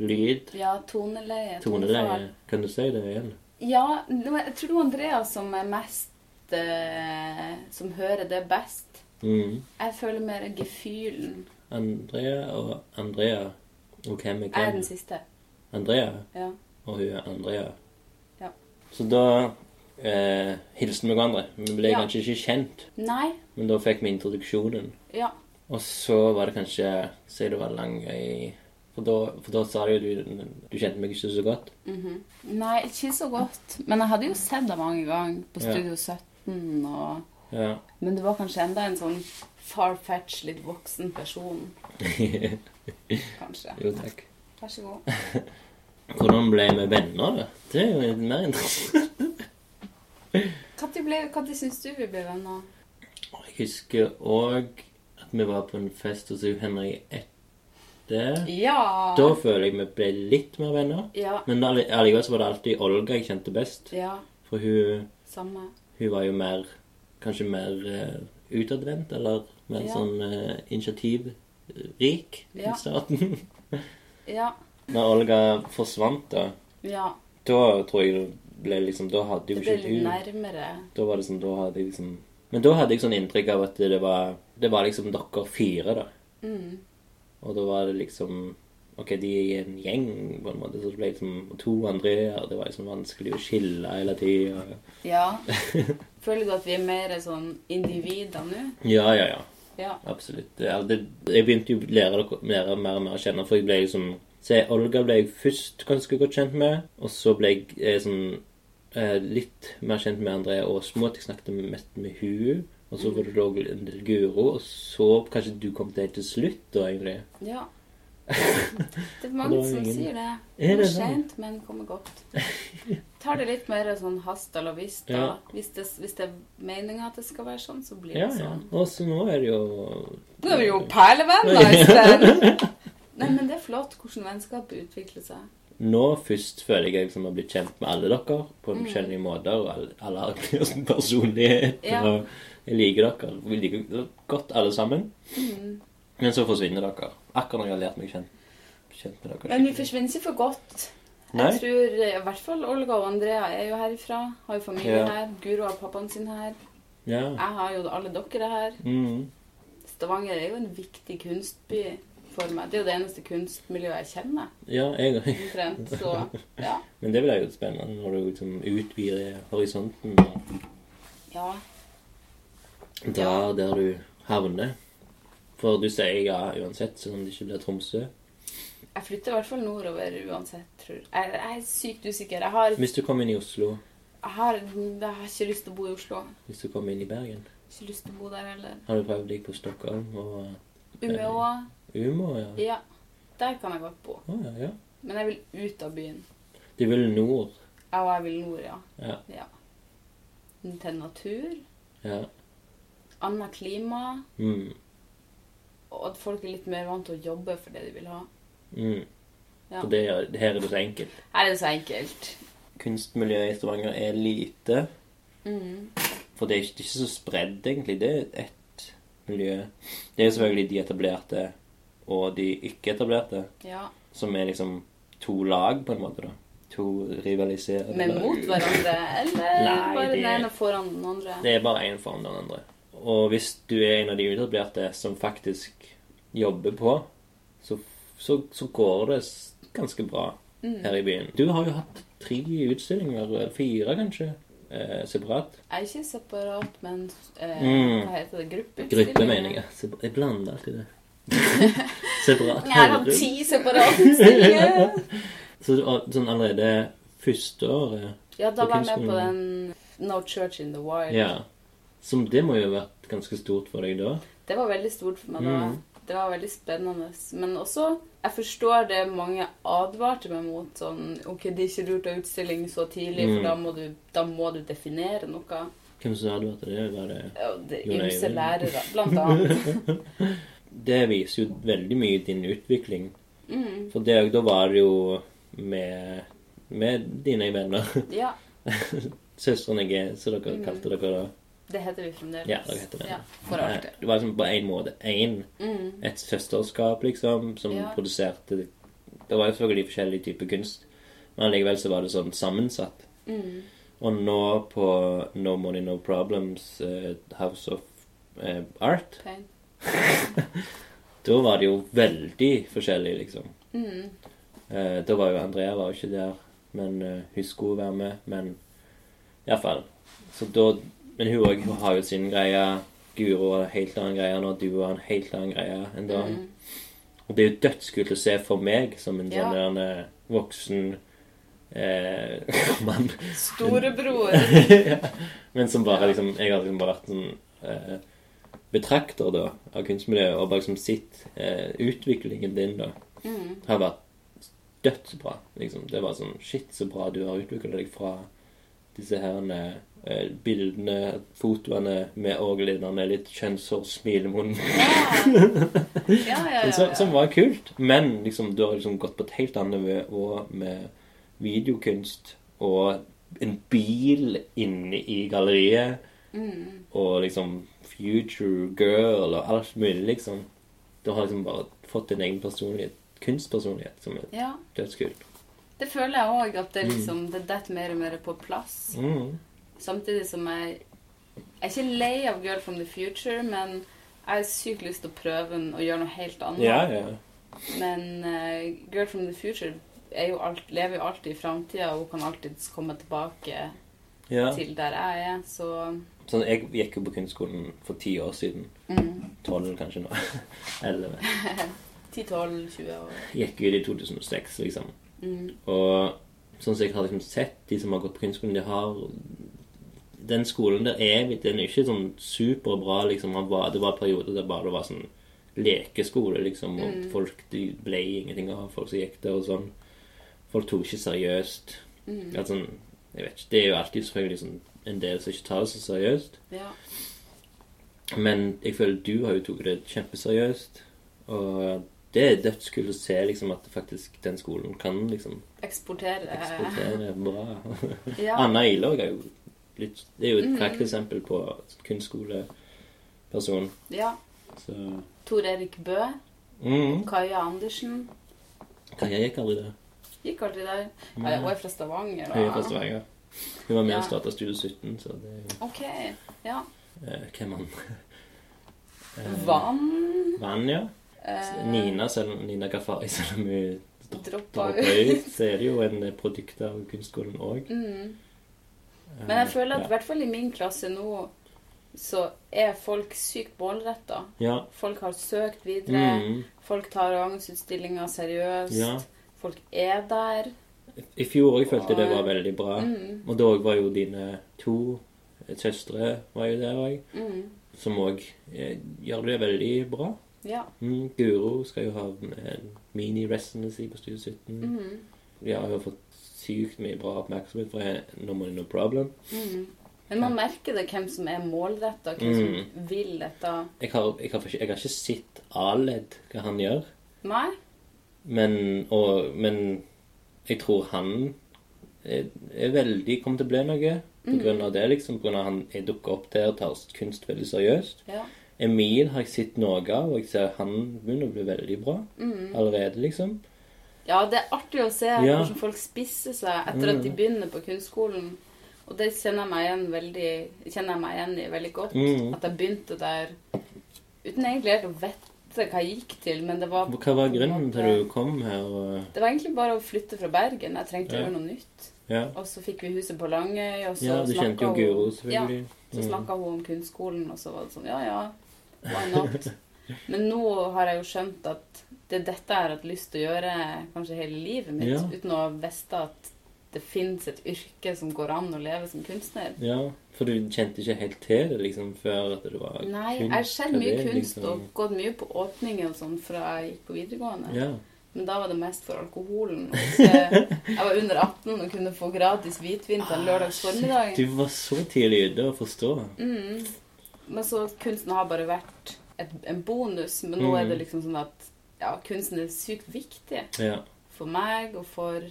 ordlyd. ja toneleie. tonefall. Toneleie. Kan du si det igjen? Ja, nå- jeg tror det var Andreas som er mest eh, Som hører det best. Mm. Jeg føler mer gefühlen. Andrea og Andrea. Og hvem er Jeg er den hvem? siste. Andrea. Ja. Og hun er Andrea. Ja. Så da eh, hilste vi hverandre. Vi ble Ja. kanskje ikke kjent, Nei. men da fikk vi introduksjonen. Ja. Og så var det kanskje Si det var Langøy For da, for da sa du jo du Du kjente meg ikke så godt. Nei, ikke så godt. Men jeg hadde jo sett det mange ganger på Ja. Studio 17 og Ja. Men det var kanskje enda en sånn far-fetch, litt voksen person, kanskje. jo, takk. Vær så god. Hvordan ble vi venner, da? Det er jo mer interessant. Når syns du vi ble venner? Jeg husker òg at vi var på en fest hos Henriette. Ja. Da føler jeg vi ble litt mer venner. Ja. Men alle- allikevel så var det alltid Olga jeg kjente best. Ja. For hun, Samme. hun var jo mer Kanskje mer eh, utadvendt, eller mer Ja. sånn eh, initiativrik Ja. i starten. Ja. Når Olga forsvant, da Ja. Da tror jeg det ble liksom Da hadde jo Det ble ikke litt hun nærmere. Da var det sånn Da hadde jeg liksom Men da hadde jeg sånn inntrykk av at det var Det var liksom dere fire, da. Og da var det liksom Ok, de er en gjeng, på en måte. Så det ble liksom to Andreer. Det var liksom vanskelig å skille hele tida. Ja. Føler du at vi er mer sånn individer nå? Ja, ja, ja. Ja. Absolutt. Det er- det, jeg begynte jo å lære, dere- lære mer og mer å kjenne, for jeg ble liksom Se, Olga ble jeg først ganske godt kjent med, og så ble jeg eh, sånn eh, litt mer kjent med Andrea Aasmo. At jeg snakket mest med hun, og så var det da en del Guro, og så kanskje du kom til helt til slutt, da, egentlig. ja. Det er Det mange var som ingen- sier det. Er Kommer det sant? sent, men kommer godt. Tar det litt mer sånn hast eller visst, da. Ja. Hvis det, hvis det er meninga at det skal være sånn, så blir det Ja, ja. sånn. Og så nå er det jo Nå er vi jo perlevenner i stedet! Nei, men det er flott hvordan vennskapet utvikler seg. Nå først føler jeg jeg som har blitt kjent med alle dere på Mm. forskjellige måter. Og alle, alle har sin personlighet. Ja. Og jeg liker dere. Vi liker dere godt alle sammen. Mm. Men så forsvinner dere. Akkurat når jeg har lært meg kjent, kjent med dere. Men vi forsvinner ikke for godt. Nei? Jeg tror eh, i hvert fall Olga og Andrea er jo herifra. Har jo familie Ja. her. Guro har pappaen sin her. Ja. Jeg har jo alle dere her. Mm. Stavanger er jo en viktig kunstby for meg. Det er jo det eneste kunstmiljøet jeg kjenner. ja, jeg òg. Omtrent. Så ja. Men det blir jo spennende når du liksom utvider horisonten og ja. drar der du havner. For du sier ja uansett, selv om det ikke blir Tromsø. Jeg flytter i hvert fall nordover uansett, tror jeg. Jeg jeg er sykt usikker. Jeg har, Hvis du kommer inn i Oslo, jeg har, jeg har ikke lyst til å bo i Oslo. hvis du kommer inn i Bergen Ikke lyst til å bo der heller. Har du prøvd deg på Stockholm og Umeå. Umeå, ja. Ja. Der kan jeg godt bo. Å, ja, ja. Men jeg vil ut av byen. De vil nord. Ja, og jeg vil nord, ja. Ja. ja. Til natur. ja. Annet klima. Mm. Og at folk er litt mer vant til å jobbe for det de vil ha. Mm. Ja. For det, er- det her er det så enkelt. Her er det så enkelt. Kunstmiljøet i Stavanger er lite. For det er ikke, det er ikke så spredd, egentlig. Det er ett miljø. Det er selvfølgelig de etablerte og de ikke-etablerte, Ja. som er liksom to lag, på en måte. da. To rivaliserende Men lag. mot hverandre, eller Nei, bare det- den ene foran den andre? Det er bare én foran den andre. Og hvis du er en av de utadvendte som faktisk jobber på, så, så, så går det s- ganske bra Mm. her i byen. Du har jo hatt tre utstillinger, fire kanskje, eh, separat. Jeg er ikke separat, men eh, Mm. hva heter det? Gruppeutstilling? Gruppe, mener jeg. Sep- Jeg blander alltid det. Separat. Jeg har hatt ti separate utstillinger. Så du, har- sånn allerede første året Ja, da På var jeg med på den kunstskolen. No Church in the Wild. Ja. Som det må jo ha vært ganske stort for deg da. Det var veldig stort for meg Mm. da. Det var veldig spennende. Men også Jeg forstår det mange advarte meg mot. Sånn OK, det er ikke lurt å ha utstilling så tidlig, Mm. for da må, du, da må du definere noe. Hvem som hadde vært det? Var det Og det Jo, nei, ymse det- lærere, blant annet. det viser jo veldig mye din utvikling. Mm. For det, da var det jo med, med dine venner. Ja. Søstrene jeg er, som dere kalte dere da. Det heter vi fremdeles. Ja, dere heter det. Ja, Mm. for Mm, alltid. Eh, Det var liksom på én måte én. Et søsterskap, liksom, som Ja. produserte Det var jo selvfølgelig forskjellig type kunst, men allikevel så var det sånn sammensatt. mm, Og nå på No Money No Problems, eh, House of eh, Art, Pain. da var det jo veldig forskjellig, liksom. Eh, da var jo Andrea var jo ikke der, men eh, hun skulle være med. Men iallfall. Så da Men hun òg har jo sin greie. Guro har en helt annen greie nå. Du har en helt annen greie enn da. Mm. Og det er jo dødskult å se for meg som en Ja. sånn der, eh, voksen eh, mann. Storebror. Men som bare liksom Jeg har liksom bare vært sånn eh, betrakter da av kunstmiljøet, og bare liksom sett eh, utviklingen din da har vært dødsbra. liksom. Det var sånn Shit, så bra du har utvikla deg fra disse her eh, bildene, fotoene med orgellinene, litt kjønnshår, smilemunn Ja, ja, men ja. så- Som var kult. Men liksom, du har liksom gått på et helt annet nivå med videokunst og en bil inne i galleriet. Og liksom Future Girl og alt mulig, liksom. Du har liksom bare fått din egen personlighet, kunstpersonlighet, som er ja. dødskult. Det føler jeg òg, at det liksom, det detter mer og mer på plass. Mm. Samtidig som jeg Jeg er ikke lei av Girl from the Future, men jeg har sykt lyst til å prøve den og gjøre noe helt annet. Ja, ja. Men eh, Girl from the Future er jo alt, lever jo alltid i framtida, og hun kan alltids komme tilbake ja. til der jeg er, så Sånn, jeg gikk jo på kunstskolen for ti år siden. Tolv, kanskje nå. Elleve. 10-12-20 år. gikk ut i 2006, liksom. Og sånn som jeg har liksom sett de som har gått på kunstskolen, de har Den skolen der er vi- den er ikke sånn superbra, liksom. Han var, det var perioder der bare det var sånn lekeskole, liksom, og folk de ble ingenting av folk som gikk der, og sånn. Folk tok ikke seriøst. At sånn, jeg vet ikke, Det er jo alltid selvfølgelig sånn, en del som ikke tar det så seriøst. Ja. Men jeg føler du har jo tatt det kjempeseriøst. Og det er dødskult å se liksom, at faktisk den skolen kan liksom Eksportere eh, eksportere bra. Ja. Mm. Anna Ilog er jo litt Det er jo et prakteksempel på kunstskoleperson. ja. Så Tor Erik Bø, mm. Kaja Andersen. Kaja gikk aldri der. Gikk alltid der. Ja, Hun er fra Stavanger. da. Hun er fra Stavanger. Hun var med og Ja. starta Studio 17, så det er jo OK. Ja. eh, Hvem andre? Vann Vanja? Eh, Eh. Nina, selv, om- Nina Gafari, selv om hun droppa droppa ut. ut, så er det jo en eh, produkt av kunstskolen òg. Mm. Men jeg føler at i Eh, Ja. hvert fall i min klasse nå, så er folk sykt målretta. Ja. Folk har søkt videre. Mm. Folk tar Agnes-utstillinga seriøst. Ja. Folk er der. I fjor òg følte jeg det var veldig bra. Mm. Og da var jo dine to eh, søstre var jo der òg. Mm. Som òg eh, gjør det veldig bra. Ja. Mm, Guro skal jo ha en mini-residency på Studio 17. Mm. Ja, hun har fått sykt mye bra oppmerksomhet fra henne. No money, no problem. Mm. Men man merker det hvem som er målretta, hvem som Mm. vil dette. Jeg har, jeg har, ikke- jeg har ikke sett A-ledd hva han gjør. Nei? Men, og, men jeg tror han er, er veldig kommer til å bli noe Mm. på grunn av det. liksom, På grunn av han jeg dukker opp der og tar kunst veldig seriøst. Ja. Emil har jeg sett noe av, og jeg ser han begynner å bli veldig bra Mm. allerede. liksom. Ja, det er artig å se Ja. Mm. hvordan folk spisser seg etter at de begynner på kunstskolen. Og det kjenner jeg meg igjen, veldig, kjenner jeg meg igjen i veldig godt. Mhm. At jeg begynte der uten egentlig helt å vite hva jeg gikk til, men det var Hva var grunnen til du kom her? og- Det var egentlig bare å flytte fra Bergen. Jeg trengte å Ja. gjøre noe nytt. Ja, Og så fikk vi huset på Langøy, og så ja du kjente jo snakket hun- Guro, Ja, selvfølgelig. så snakka hun om kunstskolen, og så var det sånn Ja, ja, why not? Men nå har jeg jo skjønt at det er dette jeg har hatt lyst til å gjøre kanskje hele livet mitt, Ja. uten å vite at det fins et yrke som går an å leve som kunstner. Ja, for du kjente ikke helt til det liksom før at det var kunst? Nei, jeg har sett mye det, kunst liksom. og gått mye på åpninger og sånn fra jeg gikk på videregående. Ja, Men da var det mest for alkoholen. Og ikke- Jeg var under 18 og kunne få gratis hvitvin på en Ah, lørdags formiddag. Du var så tidlig ute å forstå. Mm. Men så kunsten har bare vært et, en bonus, men nå Mm. er det liksom sånn at ja, kunsten er sykt viktig Ja. for meg og for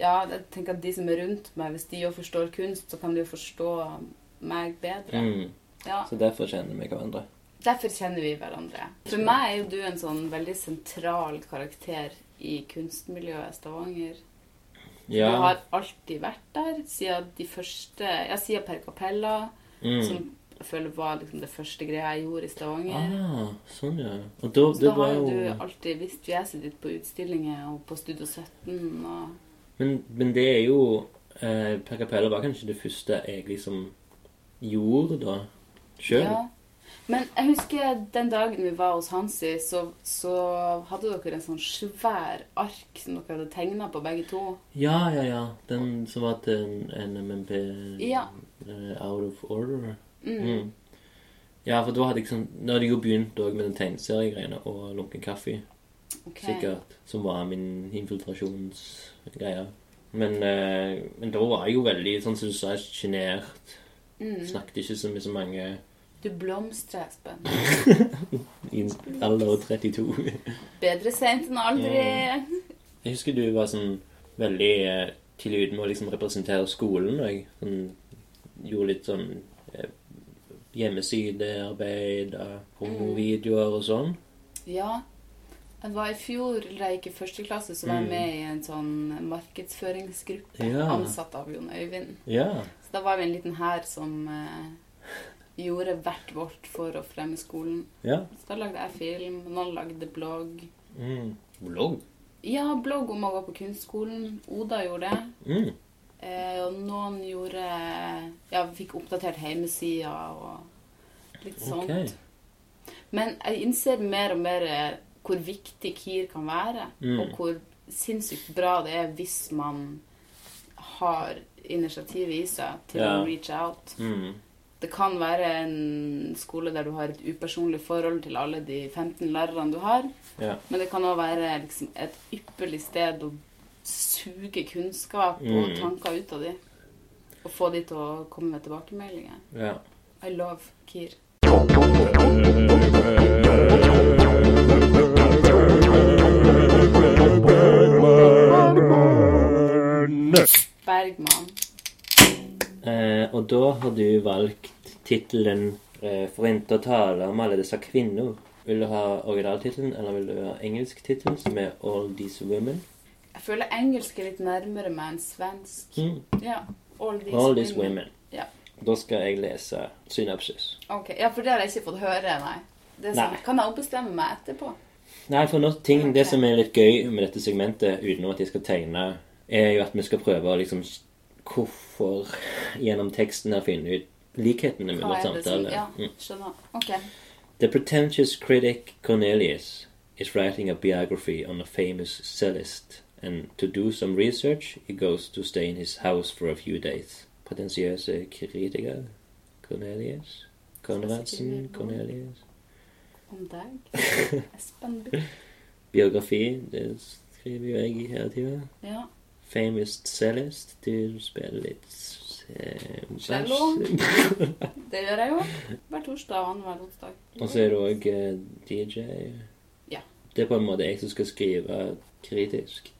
Ja, jeg tenker at de som er rundt meg, hvis de jo forstår kunst, så kan de jo forstå meg bedre. Mm. Ja. Så derfor kjenner vi hverandre. Derfor kjenner vi hverandre. For meg er jo du en sånn veldig sentral karakter i kunstmiljøet i Stavanger. Ja. Du har alltid vært der siden de første Ja, siden Per Capella, som mm. jeg føler var liksom det første greia jeg gjorde i Stavanger. Ah, sånn, ja. Og da, Så det da har var jo jo du alltid visst fjeset ditt på utstillinger og på Studio 17 og men, men det er jo eh, Per Capella var kanskje det første jeg liksom gjorde da. Sjøl. Ja. Men jeg husker den dagen vi var hos Hansi, så, så hadde dere en sånn svær ark som dere hadde tegna på begge to. Ja. ja, ja, Den som var til en- en MMP Ja. eh, Out of Order. Mm. Mm. Ja, for da hadde jeg sånn Da hadde jeg jo begynt også med den tegneseriegreiene og lunken kaffe. ok. sikkert, som var min infiltrasjonsgreie. Men, eh, men da var jeg jo veldig, sånn som du sa, sjenert. Mm. Snakket ikke så mye så mange Du blomstrer, Espen. i en alder av 32. Bedre seint enn aldri. Mm. Jeg husker du var sånn veldig eh, tidlig ute med å liksom representere skolen. Og jeg sånn, gjorde litt sånn eh, hjemmesidearbeid, Mm. eh, promovideoer og sånn. Ja. Jeg var I fjor, da jeg gikk i første klasse, så var jeg Mm. med i en sånn markedsføringsgruppe Ja. ansatt av Jon Øyvind. Ja. Så da var vi en liten hær som eh, gjorde hvert vårt for å fremme skolen. ja. Så da lagde jeg film, og noen lagde blogg. Mm. Blogg. Ja, blogg om å gå på kunstskolen. Oda gjorde det. Mm. Eh, og noen gjorde Ja, vi fikk oppdatert hjemmesida og litt sånt. Ok. Men jeg innser mer og mer eh, hvor viktig KIR kan være, Mm. og hvor sinnssykt bra det er hvis man har initiativet i seg til Ja. å reach out. Mm. Det kan være en skole der du har et upersonlig forhold til alle de 15 lærerne du har, Ja. men det kan òg være liksom et ypperlig sted å suge kunnskap og Mm. tanker ut av de. Og få de til å komme med tilbakemeldinger. ja. I love KIR. Bergman. Eh, og da har du valgt tittelen eh, 'Forvente å tale om alle disse kvinner'. Vil du ha originaltittelen, eller vil du ha engelsk tittel, som er 'All These Women'? Jeg føler engelsk er litt nærmere meg enn svensk. Mm. Ja. All these, All These Women. Ja. Da skal jeg lese synapsis. Ok, Ja, for det har jeg ikke fått høre, nei. Det er sant. Nei. Kan jeg ombestemme meg etterpå? Nei, for nå, ting, det Ok. som er litt gøy med dette segmentet, utenom at jeg skal tegne, er jo at vi skal prøve å liksom s- Hvorfor gjennom teksten her finne ut likhetene Hva mellom er det som samtaler. Ja, Mm. skjønner. Ok. The pretentious critic Cornelius is writing a biography on a famous cellist, and to do some research, he goes to stay in his house for a few days. Potensiøse kritiker Cornelius Konradsen Cornelius Om deg. Espen Buch. Biografi, det skriver jo jeg i hele tida. Ja. Famous cellist, du spiller litt eh, Cello. vers. Det gjør jeg jo. Hver torsdag og annenhver onsdag. Og så er du òg DJ. Ja. Det er på en måte jeg som skal skrive kritisk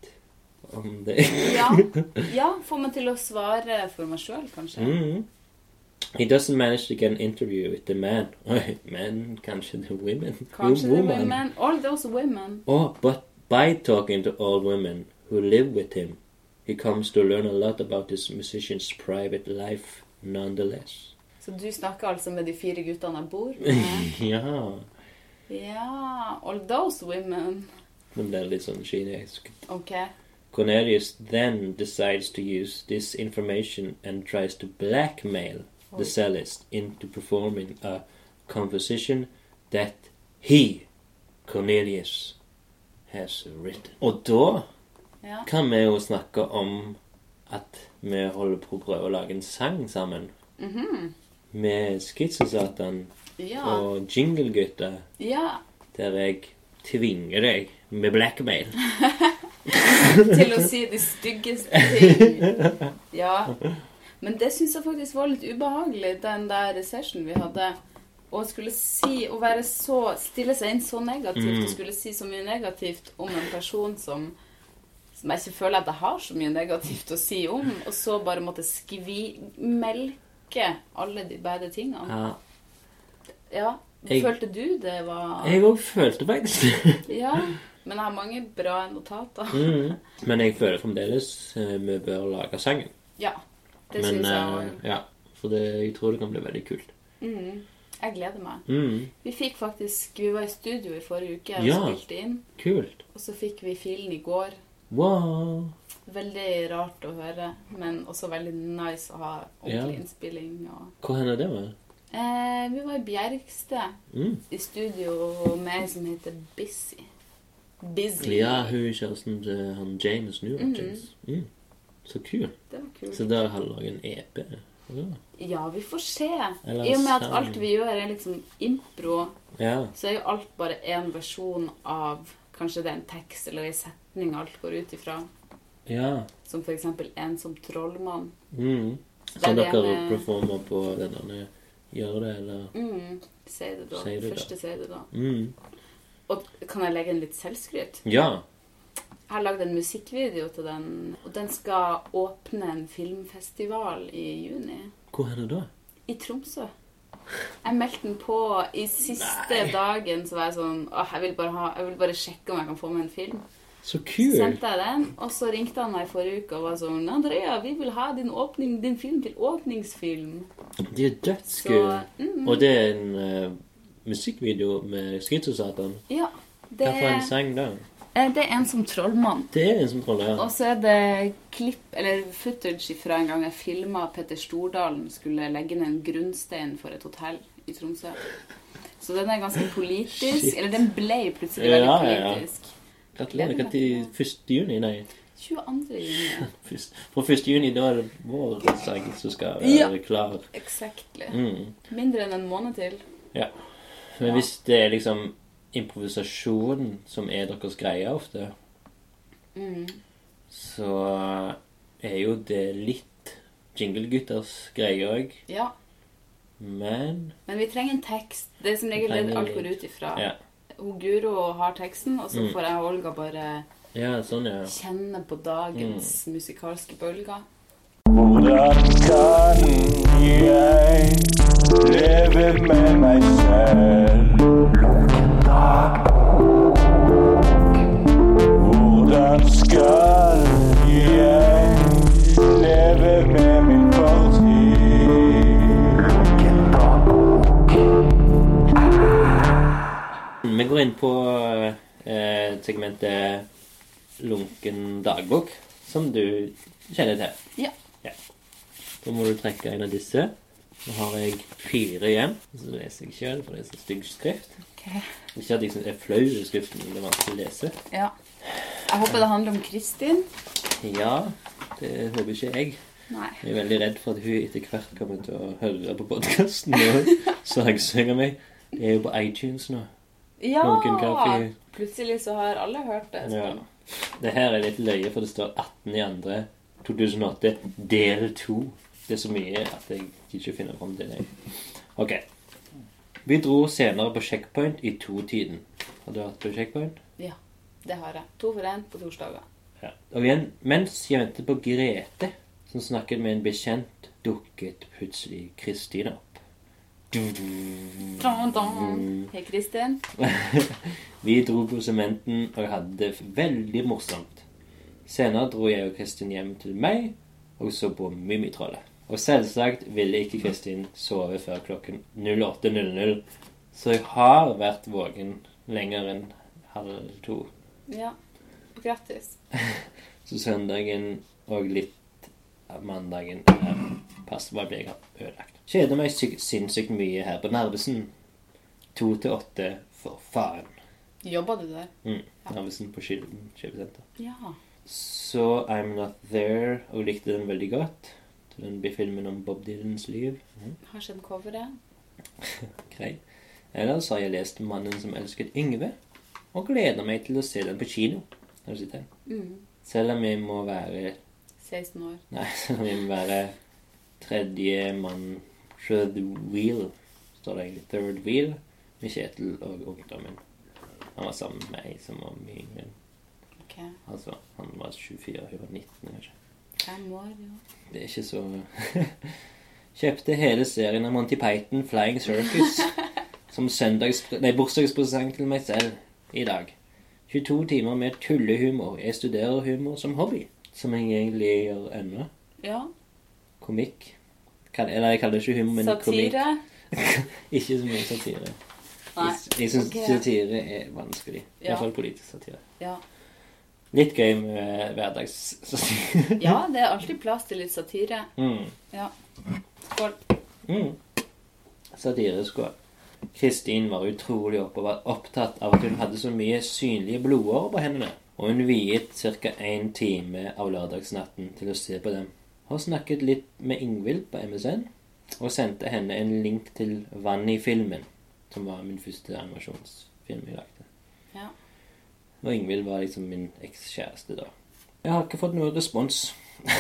om det. Ja. ja. Få meg til å svare for meg sjøl, kanskje. Mhm. He doesn't manage to get an interview with the man. Oi, men, kanskje the women. Kanskje det Woman. blir men All those women. Oh, but by talking to all women who live with him, he comes to learn a lot about this musician's private life nonetheless. Så du snakker altså med de fire guttene jeg bor med? ja. Ja All those women. Men det er litt sånn kinesisk. OK. Cornelius then decides to use this information and tries to blackmail the cellist into performing a composition that he, Cornelius, has written. Og da Ja. kan vi jo snakke om at vi holder på å prøve å lage en sang sammen. Med Skitsosatan Mhm. Ja. og Jinglegutta, ja. der jeg tvinger deg med blackmail. Til å si de styggeste ting. Ja. Men det syns jeg faktisk var litt ubehagelig, den der session vi hadde. Å skulle si Å være så Stille seg inn så Mm. negativt og skulle si så mye negativt om en person som som jeg ikke føler at jeg har så mye negativt å si om, og så bare måtte skvi... Melke alle de bære tingene. Ja. Ja. Jeg- Følte du det var Jeg òg følte faktisk det. Ja. Men jeg har mange bra notater. Mhm. Men jeg føler fremdeles eh, vi bør lage sangen. Ja. Det Men, syns jeg eh, òg. ja, for det, jeg tror det kan bli veldig kult. Mhm. Jeg gleder meg. Mhm, Vi fikk faktisk Vi var i studio i forrige uke og Ja. spilte inn. Kult. Og så fikk vi filen i går. Wow. Veldig rart å høre, men også veldig nice å ha ordentlig Ja. innspilling. Og... Hvor hender det? Med? Eh, vi var i Bjergstad Mm. i studio med ei som heter Busy. Busy. Ja, hun er kjæresten til han James New Mhm. James. Mm. Så kult. Det var kult. Så der har jeg laget en EP. E Ja. Ja, vi får se. Eller I og med at sang. alt vi gjør, er liksom impro, ja. så er jo alt bare én versjon av Kanskje det er en tekst eller en setning alt går ut ifra. ja. Som f.eks. en som trollmann. Mm. Så Så det er dere det- performer på den der Gjør det, eller Mm, si det da. Si det da. Første si det da. mm. Og kan jeg legge inn litt selvskryt? Ja. Jeg har lagd en musikkvideo til den, og den skal åpne en filmfestival i juni. Hvor hender det? I Tromsø. Jeg meldte den på i siste Nei. dagen, så var jeg sånn Åh, jeg vil, bare ha, jeg vil bare sjekke om jeg kan få med en film. Så Så kult. sendte jeg den, og så ringte han meg i forrige uke og var sånn Andrea, vi vil ha din, åpning, din film til åpningsfilm. Det er Så dødskult. mm, Og det er en eh, musikkvideo med Skizosatan. ja. Det, Hva for en sang da? eh, det er en som trollmann. Det er en sånn som troller. Og så er det klipp, eller footage fra en gang jeg filma Petter Stordalen skulle legge ned en grunnstein for et hotell i Tromsø. Så den er ganske politisk. Shit. Eller den ble plutselig Ja, veldig ja, ja. politisk. Gratulerer. Hva til 1. juni? Nei. 22. juni. Først- Fra 1. juni, da er det vår sang som skal være Ja. klar. Exactly. Mm. Mindre enn en måned til. Ja. Men hvis det er liksom improvisasjon som er deres greie ofte, Mm. så er jo det litt jinglegutters greie òg. Ja. Men Men vi trenger en tekst. Det er som regel det alt går ut ifra. Ja. Hun Guro har teksten, og så Mm. får jeg og Olga bare Ja, sånn, ja. kjenne på dagens Mm. musikalske bølger. Hvordan kan jeg leve med meg selv? Hvordan skal jeg leve med min fortid? Vi går inn på eh, segmentet lunken dagbok, som du kjenner til. Ja. Da må du trekke en av disse. Nå har jeg fire igjen. Så leser jeg sjøl, for det er så stygg skrift. Ok. Ikke at jeg synes det er flau i skriften, men det er vanskelig å lese. ja. Jeg håper det handler om Kristin. Ja, det håper ikke jeg. Nei. Jeg er veldig redd for at hun etter hvert kommer til å høre på podkasten og sagsøke meg. Det er jo på iTunes nå. Ja! Lunken kaffe. Plutselig så har alle hørt det. Ja. Det her er litt løye, for det står 18.2.2008 del 2. Det er så mye at jeg gidder ikke finne fram til det. Ok. Vi dro senere på checkpoint i to-tiden. Har du vært på checkpoint? Ja, det har jeg. To for én på torsdager. Ja. Og igjen, mens jeg ventet på Grete, som snakket med en bekjent, dukket plutselig Kristina opp. Mm. Dun, Mm. dun. Hei, Kristin. Vi dro på sementen og hadde det veldig morsomt. Senere dro jeg og Kristin hjem til meg og så på Mummitrollet. Og selvsagt ville ikke Kristin sove før klokken 08.00, så jeg har vært våken lenger enn halv to. Ja. Grattis. Så søndagen og litt av mandagen er pass hva jeg har ødelagt. Kjeder meg syk, sinnssykt mye her på Narvesen. To til åtte, for faen. Jobba du der? Mm. Narvesen på Kilden kjøpesenter. Ja. Så I'm Not There, og likte den veldig godt. Så Den blir filmen om Bob Dylans liv. Mhm, Har sett coveret. Grei. Ellers har jeg lest 'Mannen som elsket Yngve', og gleder meg til å se den på kino. Har du sett den? Mm. Selv om jeg må være 16 år. Nei, selv om jeg må være tredje mann Third wheel, står det egentlig. Third wheel med Kjetil og ungdommen. Han var sammen med ei som var mye yngre. Ok. Altså, han var 24, hun var 19, kanskje. Fem år, ja. Det er ikke så Kjøpte hele serien av Monty Python Flying Circus som søndags... Nei, bursdagspresang til meg selv i dag. 22 timer med tullehumor. Jeg studerer humor som hobby. Som jeg egentlig gjør ennå. Ja. Komikk. Kall- Eller jeg kaller det ikke humor, men Satire. komikk. Ikke så mye satire. Nei. Jeg, jeg syns ok. satire er vanskelig. Ja. I hvert fall politisk satire. Ja. Litt gøy med hverdagssatire. ja, det er alltid plass til litt satire. mm. Ja. Skål. Mm. Satireskål. Kristin var utrolig opp og var opptatt av at hun hadde så mye synlige blodårer på hendene. Og hun viet ca. en time av lørdagsnatten til å se på dem. Hun snakket litt med Ingvild på MSN, og sendte henne en link til Vann i filmen, som var min første animasjonsfilm jeg lagde. Ja. Og Ingvild var liksom min ekskjæreste da. Jeg har ikke fått noen respons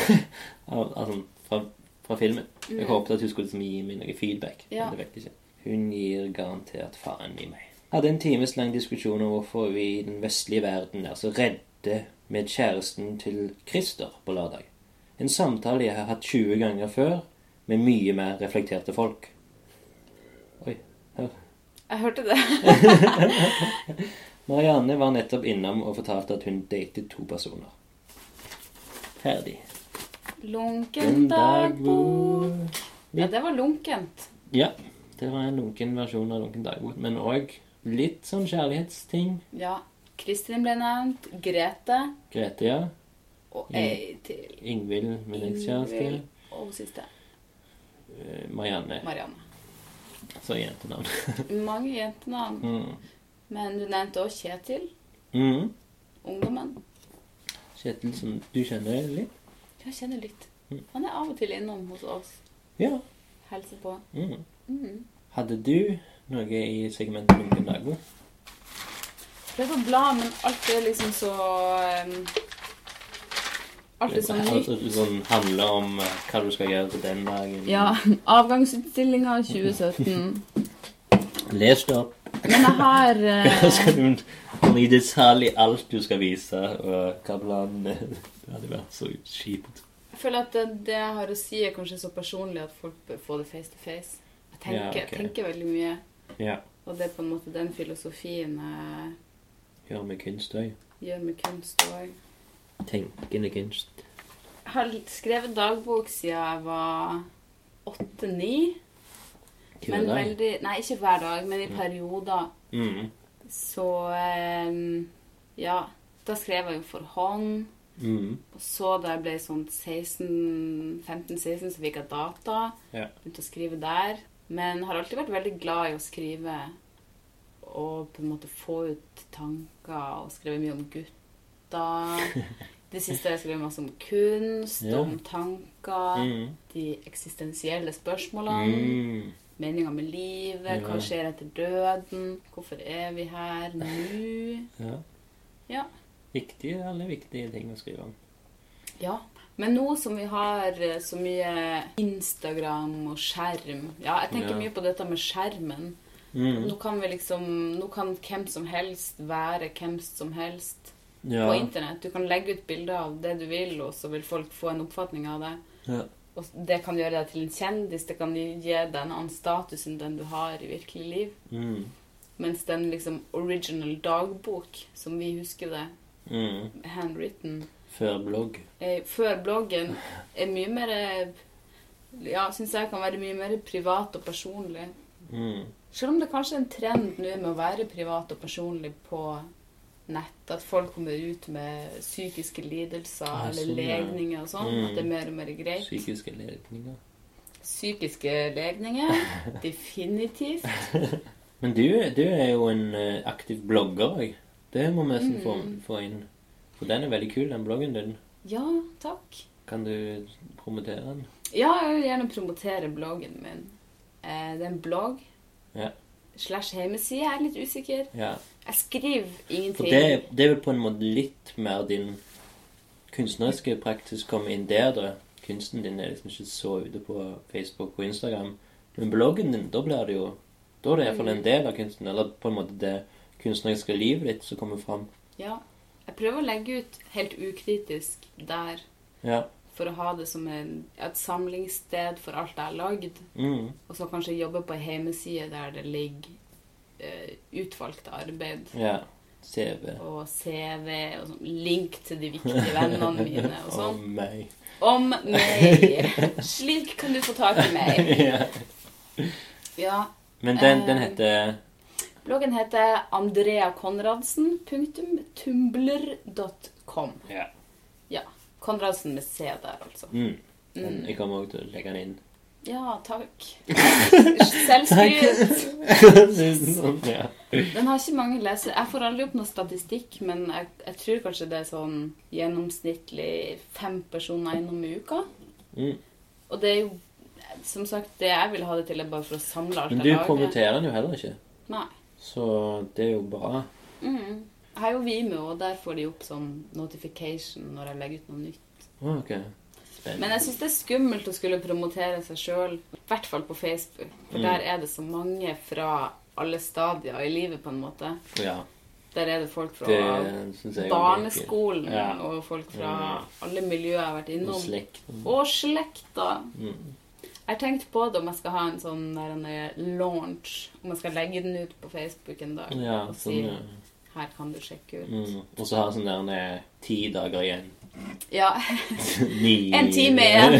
av, altså, fra, fra filmen. Jeg håpet at hun skulle liksom gi meg noe feedback. Ja. Men det vet jeg ikke. Hun gir garantert faen i meg. Hadde en times lang diskusjon om hvorfor vi i den vestlige verden er så redde med kjæresten til Christer på lørdag. En samtale jeg har hatt 20 ganger før med mye mer reflekterte folk. Oi, hør. Jeg hørte det. Marianne var nettopp innom og fortalte at hun datet to personer. Ferdig. Lunken dagbok. Ja, det var lunkent. Ja, det var en lunken versjon av Lunken dagbok, men òg litt sånn kjærlighetsting. Ja. Kristin ble nevnt. Grete. Grete, ja. Og ei til. Ingvild, min ekskjæreste. Ingvild. Og hun siste. Eh, Marianne. Marianne. Så jentenavn. Mange jentenavn. mm. Men du nevnte også Kjetil. Mm. Ungdommen. Kjetil, som du kjenner litt? Jeg kjenner litt. Han er av og til innom hos oss. Ja. Hilser på. Mm. Hadde du noe i segmentet Lunken dagbok? Prøv å bla, men alt er liksom så um, Alt er så nytt. Altså, Sånn handler om eh, hva du skal gjøre på den dagen? Ja. Avgangsutstillinga 2017. Les det opp. Men jeg har eh, Her skal du komme i detalj alt du skal vise, og hva planen er. Det hadde vært så kjipt. Jeg føler at det, det jeg har å si, er kanskje så personlig at folk bør få det face to face. Jeg tenker, Ja, ok. tenker veldig mye, Ja. og det er på en måte den filosofien jeg Gjør med kunst òg. gjør med kunst òg. Tenkende kunst. Jeg har skrevet dagbok siden jeg var åtte-ni. Men Hver dag. veldig Nei, ikke hver dag, men i perioder. Mm. Så eh, Ja. Da skrev jeg jo for hånd. Mm. Og så da jeg ble sånn 15-16, så fikk jeg data. Ja. Begynte å skrive der. Men har alltid vært veldig glad i å skrive og på en måte få ut tanker. Og skrevet mye om gutter. Det siste har jeg skrevet masse om kunst, Ja. om tanker, Mm. de eksistensielle spørsmålene. Mm. Meninga med livet, hva Ja. skjer etter døden, hvorfor er vi her nå? Ja. Ja. Viktige, alle viktige ting å skrive om. Ja. Men nå som vi har eh, så mye Instagram og skjerm Ja, jeg tenker Ja. mye på dette med skjermen. Mm. Nå kan vi liksom Nå kan hvem som helst være hvem som helst Ja. på internett. Du kan legge ut bilder av det du vil, og så vil folk få en oppfatning av det. ja. Og det kan gjøre deg til en kjendis. Det kan gi gi deg en annen status enn den du har i virkelig liv. Mm. Mens den liksom original dagbok, som vi husker det, Mm. handwritten Før blogg. eh, før bloggen er mye mer eh, ja, syns jeg kan være mye mer privat og personlig. Mm. Selv om det kanskje er en trend nå med å være privat og personlig på nett, at folk kommer ut med psykiske lidelser Ah, eller sånn, ja. legninger og sånn, Mm. at det er mer og mer greit. Psykiske ledninger. Psykiske legninger, definitivt. Men du, du er jo en eh, aktiv blogger òg. Det må vi nesten få, Mm. få inn. For den er veldig kul, den bloggen din. Ja, takk. Kan du promotere den? Ja, jeg vil gjerne promotere bloggen min. Eh, det er en blogg Ja. slash hjemmeside. Jeg er litt usikker. ja. Jeg skriver For ingenting. det, det er vel på en måte litt mer din kunstneriske praksis kommer inn der, da. Kunsten din er liksom ikke så ute på Facebook og Instagram. Men bloggen din, da blir det jo Da er det iallfall Mm. en del av kunsten. Eller på en måte det kunstneriske livet ditt som kommer fram. Ja. Jeg prøver å legge ut helt ukritisk der Ja. for å ha det som en, et samlingssted for alt jeg har lagd. Mm. Og så kanskje jobbe på ei hjemmeside der det ligger eh, utvalgt arbeid Ja. CV. og CV og sånn. Link til de viktige vennene mine og Å, sånn. meg. Om meg! Slik kan du få tak i meg. ja. Ja. Men den, den Eh, heter Bloggen heter andreakonradsen.tumbler.com. Ja. Ja. Konradsen med C der, altså. Mm. Den, jeg kommer også til å legge den inn. Ja, takk. Selvskryt. Sånn, ja. Den har ikke mange lesere. Jeg får aldri opp noe statistikk, men jeg, jeg tror kanskje det er sånn gjennomsnittlig fem personer innom i uka. Mm. Og det er jo som sagt det jeg vil ha det til, er bare for å samle alt Men jeg du lager. promoterer den jo heller ikke, Nei. så det er jo bra. Mm. Jeg har jo Vimeo, og der får de opp sånn notification når jeg legger ut noe nytt. Å, Ok. Men Spennende. jeg syns det er skummelt å skulle promotere seg sjøl, i hvert fall på Facebook. Mm. For der er det så mange fra alle stadier i livet, på en måte. Ja, Der er det folk fra det syns jeg barneskolen Ja. og folk fra alle miljøer jeg har vært Og innom. slekt. Og slekta. Mm. Jeg har tenkt på det om jeg skal ha en sånn der, en launch, om jeg skal legge den ut på Facebook en dag Ja, og si sånn, ja. her kan du sjekke ut. Mm. Og så har jeg sånn der eh, ti dager igjen. Ja. Ni En time igjen.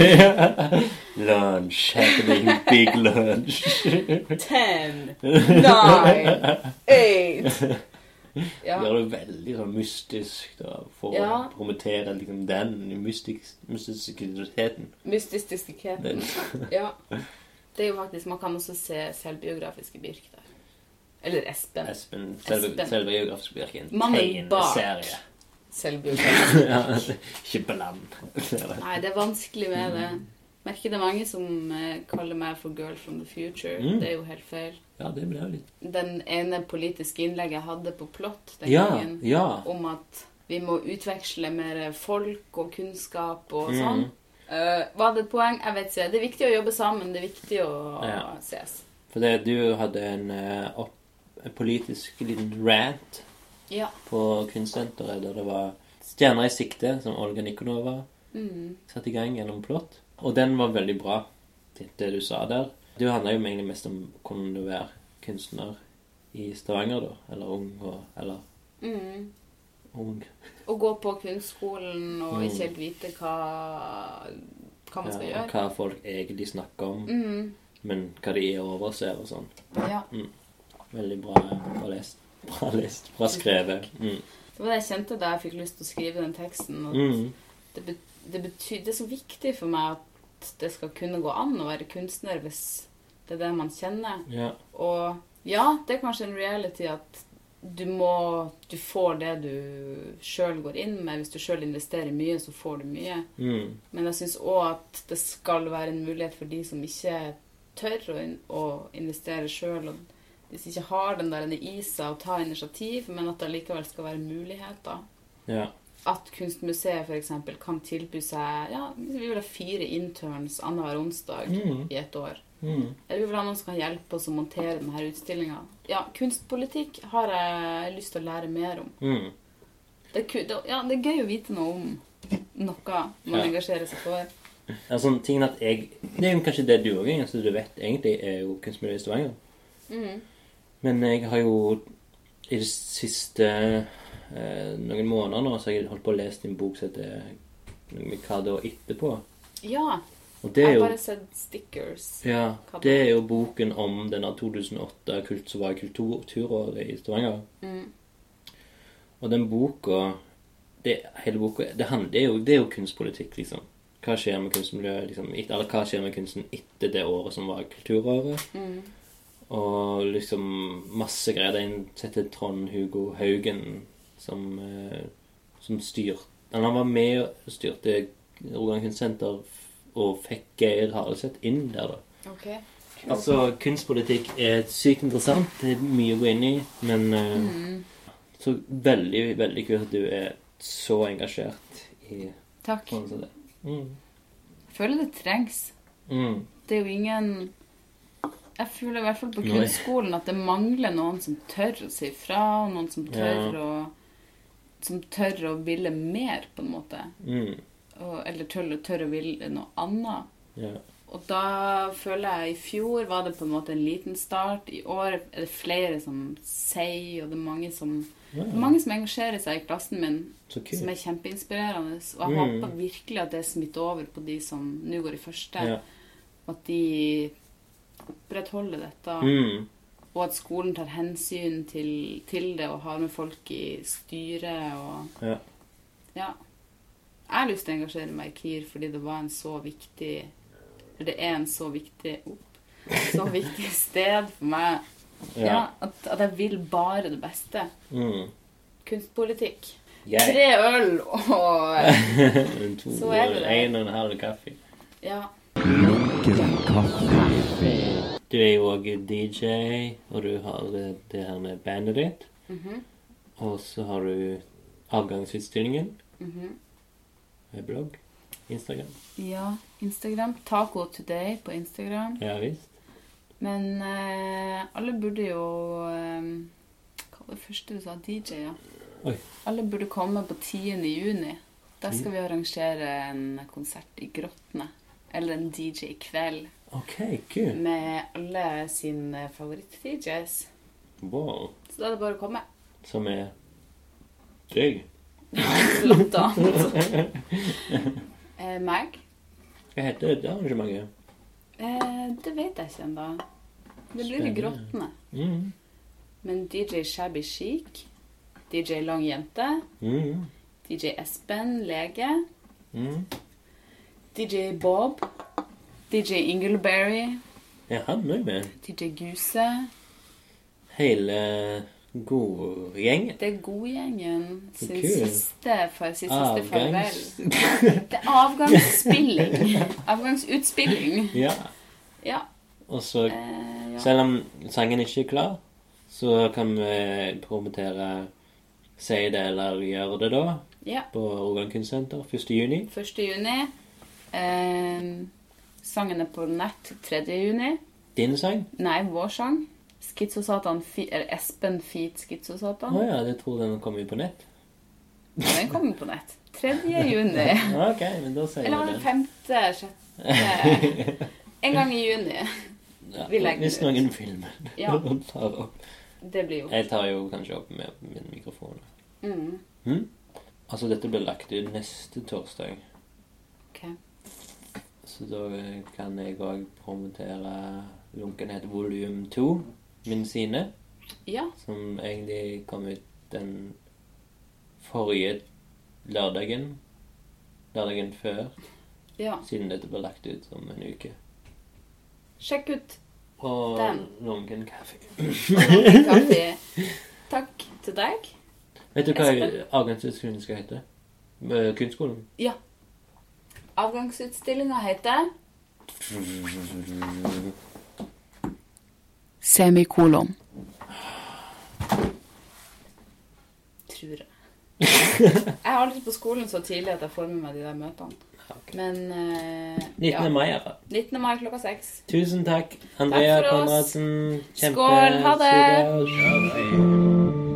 Lunch. Happening big lunch. Ten, nine, eight. Ja. Gjør det veldig sånn mystisk da, for Ja. å promotere liksom, den mystisk- mystisiteten. Mystistikken. Den. Ja. Det er jo faktisk, Man kan også se selvbiografiske Birk der. Eller Espen. Espen, selve, Espen. selve geografisk virke en Mannen bak. tegneserie. Selvbiografisk. Ja, Ikke bland. Nei, det er vanskelig med det. Merker det er mange som eh, kaller meg for 'girl from the future'. Mm. Det er jo helt feil. Ja, det blir jo litt Den ene politiske innlegget jeg hadde på Plott den Ja, gangen, ja. om at vi må utveksle mer folk og kunnskap og Mm. sånn, eh, var det et poeng? Jeg vet ikke. Det er viktig å jobbe sammen. Det er viktig å Ja. ses. For det, du hadde en, eh, opp, en politisk liten rant Ja. på kunstsenteret der det var Stjerner i sikte, som Olga Nikonova Mm. satte i gang gjennom plott. Og den var veldig bra, det det du sa der. Du handla jo egentlig mest om hvordan du er kunstner i Stavanger, da. Eller ung og Eller Mm. ung. Å gå på kunstskolen og Mm. ikke helt vite hva, hva man skal Ja, og gjøre. hva folk egentlig snakker om. Mm, Men hva de er og overser og sånn. ja. Veldig bra, bra lest. Bra lest. Bra skrevet. Mm. Det var det jeg kjente da jeg fikk lyst til å skrive den teksten. At Mm. det, be det, bety det er så viktig for meg at det skal kunne gå an å være kunstner hvis det er det man kjenner. Ja. Og ja, det er kanskje en reality at du må Du får det du sjøl går inn med. Hvis du sjøl investerer mye, så får du mye. Mm. Men jeg syns òg at det skal være en mulighet for de som ikke tør å, in å investere sjøl, og de som ikke har den der i seg å ta initiativ, men at det likevel skal være muligheter. ja. At Kunstmuseet f.eks. kan tilby seg ja, Vi vil ha fire interns annenhver onsdag Mm. i et år. Mm. Eller vi vil ha noen som kan hjelpe oss å montere denne utstillinga. Ja, kunstpolitikk har jeg lyst til å lære mer om. Mm. Det er, ku det, ja, det er gøy å vite noe om noe man Ja. engasjerer seg for. Altså, tingen at jeg Det er jo kanskje det du òg er, så du vet egentlig, er jo kunstmiljøet i Stavanger. Mm. Men jeg har jo i det siste eh, noen måneder nå så har jeg holdt på å lese en bok som heter noe med Hva da etterpå? Ja. Og det er Jeg har jo bare sett stickers. Ja, Hva da? det er jo boken om denne 2008 kult, som var kulturåret i Stavanger. Mm. Og den boka det, Hele boka det, handler, det, er jo, det er jo kunstpolitikk, liksom. Hva skjer med kunstmiljøet liksom, et- Eller hva skjer med kunsten etter det året som var kulturåret? Og liksom masse greier. Det er en som heter Trond-Hugo Haugen som, eh, som styrte Han var med og styrte Rogaland Kunstsenter og fikk Geir Haraldseth inn der, da. Ok. Altså, kunstpolitikk er sykt interessant. Det er mye å gå inn i, men eh, Mm. Så veldig, veldig kult at du er så engasjert i Takk. forhold til det. Mm. Jeg føler det trengs. Mm. Det er jo ingen Jeg føler i hvert fall på Nei. kunstskolen at det mangler noen som tør å si fra, og noen som tør Ja. å Som tør å ville mer, på en måte. Mm. Og, eller tør, tør å ville noe annet. Ja. Og da føler jeg i fjor var det på en måte en liten start. I år er det flere som sier, og det er mange som, Ja. det er mange som engasjerer seg i klassen min, Så som kult. er kjempeinspirerende. Og jeg Mm. håper virkelig at det smitter over på de som nå går i første, Ja. og at de opprettholder dette. Mm. Og at skolen tar hensyn til, til det og har med folk i styret og Ja. Ja. Jeg har lyst til å engasjere meg i KIR fordi det var en så viktig eller Det er en så viktig opp, så viktig sted for meg. Ja. ja. at, at jeg vil bare det beste. Mm. Kunstpolitikk. Jeg Tre øl og to, Så er det det. En og en halv kaffe. Ja. Du er jo òg DJ, og du har eh, det her med bandet ditt. Mhm. Og så har du avgangsutstillingen. Mhm. Med blogg. Instagram. Ja, Instagram. Taco today på Instagram. Ja visst. Men eh, alle burde jo eh, Hva var det første du sa? DJ, ja. Oi. Alle burde komme på 10. juni. Da skal vi arrangere en konsert i Grottene. Eller en DJ-kveld OK, kult. med alle sine favoritt-DJs. Wow. Så da er det bare å komme. Som er deg. Blant annet. eh, meg? Hva heter det arrangementet? Eh, det vet jeg ikke ennå. Det blir i Spennende. Grottene. Mm. Men DJ Shabby Chic, DJ Lang Jente Mm. DJ Espen, lege. Mm. DJ Bob. DJ Ingleberry. Er han òg med? DJ Guse. Hele godgjengen? Det er godgjengen sin Kul. siste, for, sin siste farvel. Avgangs... Det er avgangsspilling. Avgangsutspilling. ja. Ja. Og så Eh, ja. Selv om sangen ikke er klar, så kan vi promotere Si det eller gjør det, da, ja. på Rogaland Kunstsenter 1. juni. 1. juni. Eh, sangen er på nett 3. juni. Din sang? Nei, vår sang. Skizosatan fi, eller Espen feat Å Skizosatan. ja, jeg tror den kommer ut på nett. Den kommer på nett 3. juni. Ok, men da sier Eller var vi det det. femte, sjette En gang i juni. Ja, vi legger hvis det ut. noen filmer det Ja. og tar opp. Det blir jo Jeg tar jo kanskje opp med min mikrofon. mm. Hm? Altså, dette blir lagt ut neste torsdag, OK. så da kan jeg òg promotere Lunkenhet volum 2, min sine. Ja. som egentlig kom ut den forrige lørdagen. Lørdagen før, ja. siden dette ble lagt ut om en uke. Sjekk ut Og Den. lunken kaffe. kaffe. Takk til deg. Vet du hva Espen? avgangsutskolen skal hete? Eh, Kunstskolen? Avgangsutstillinga heter Semikolon. Tror jeg. Jeg er aldri på skolen så tidlig at jeg får med meg de der møtene. Ok. Men eh, 19. ja. mai, iallfall. 19. mai klokka seks. Tusen takk, Andrea Takk for oss. Konradsen. Kjempe- Skål, ha det. Supert.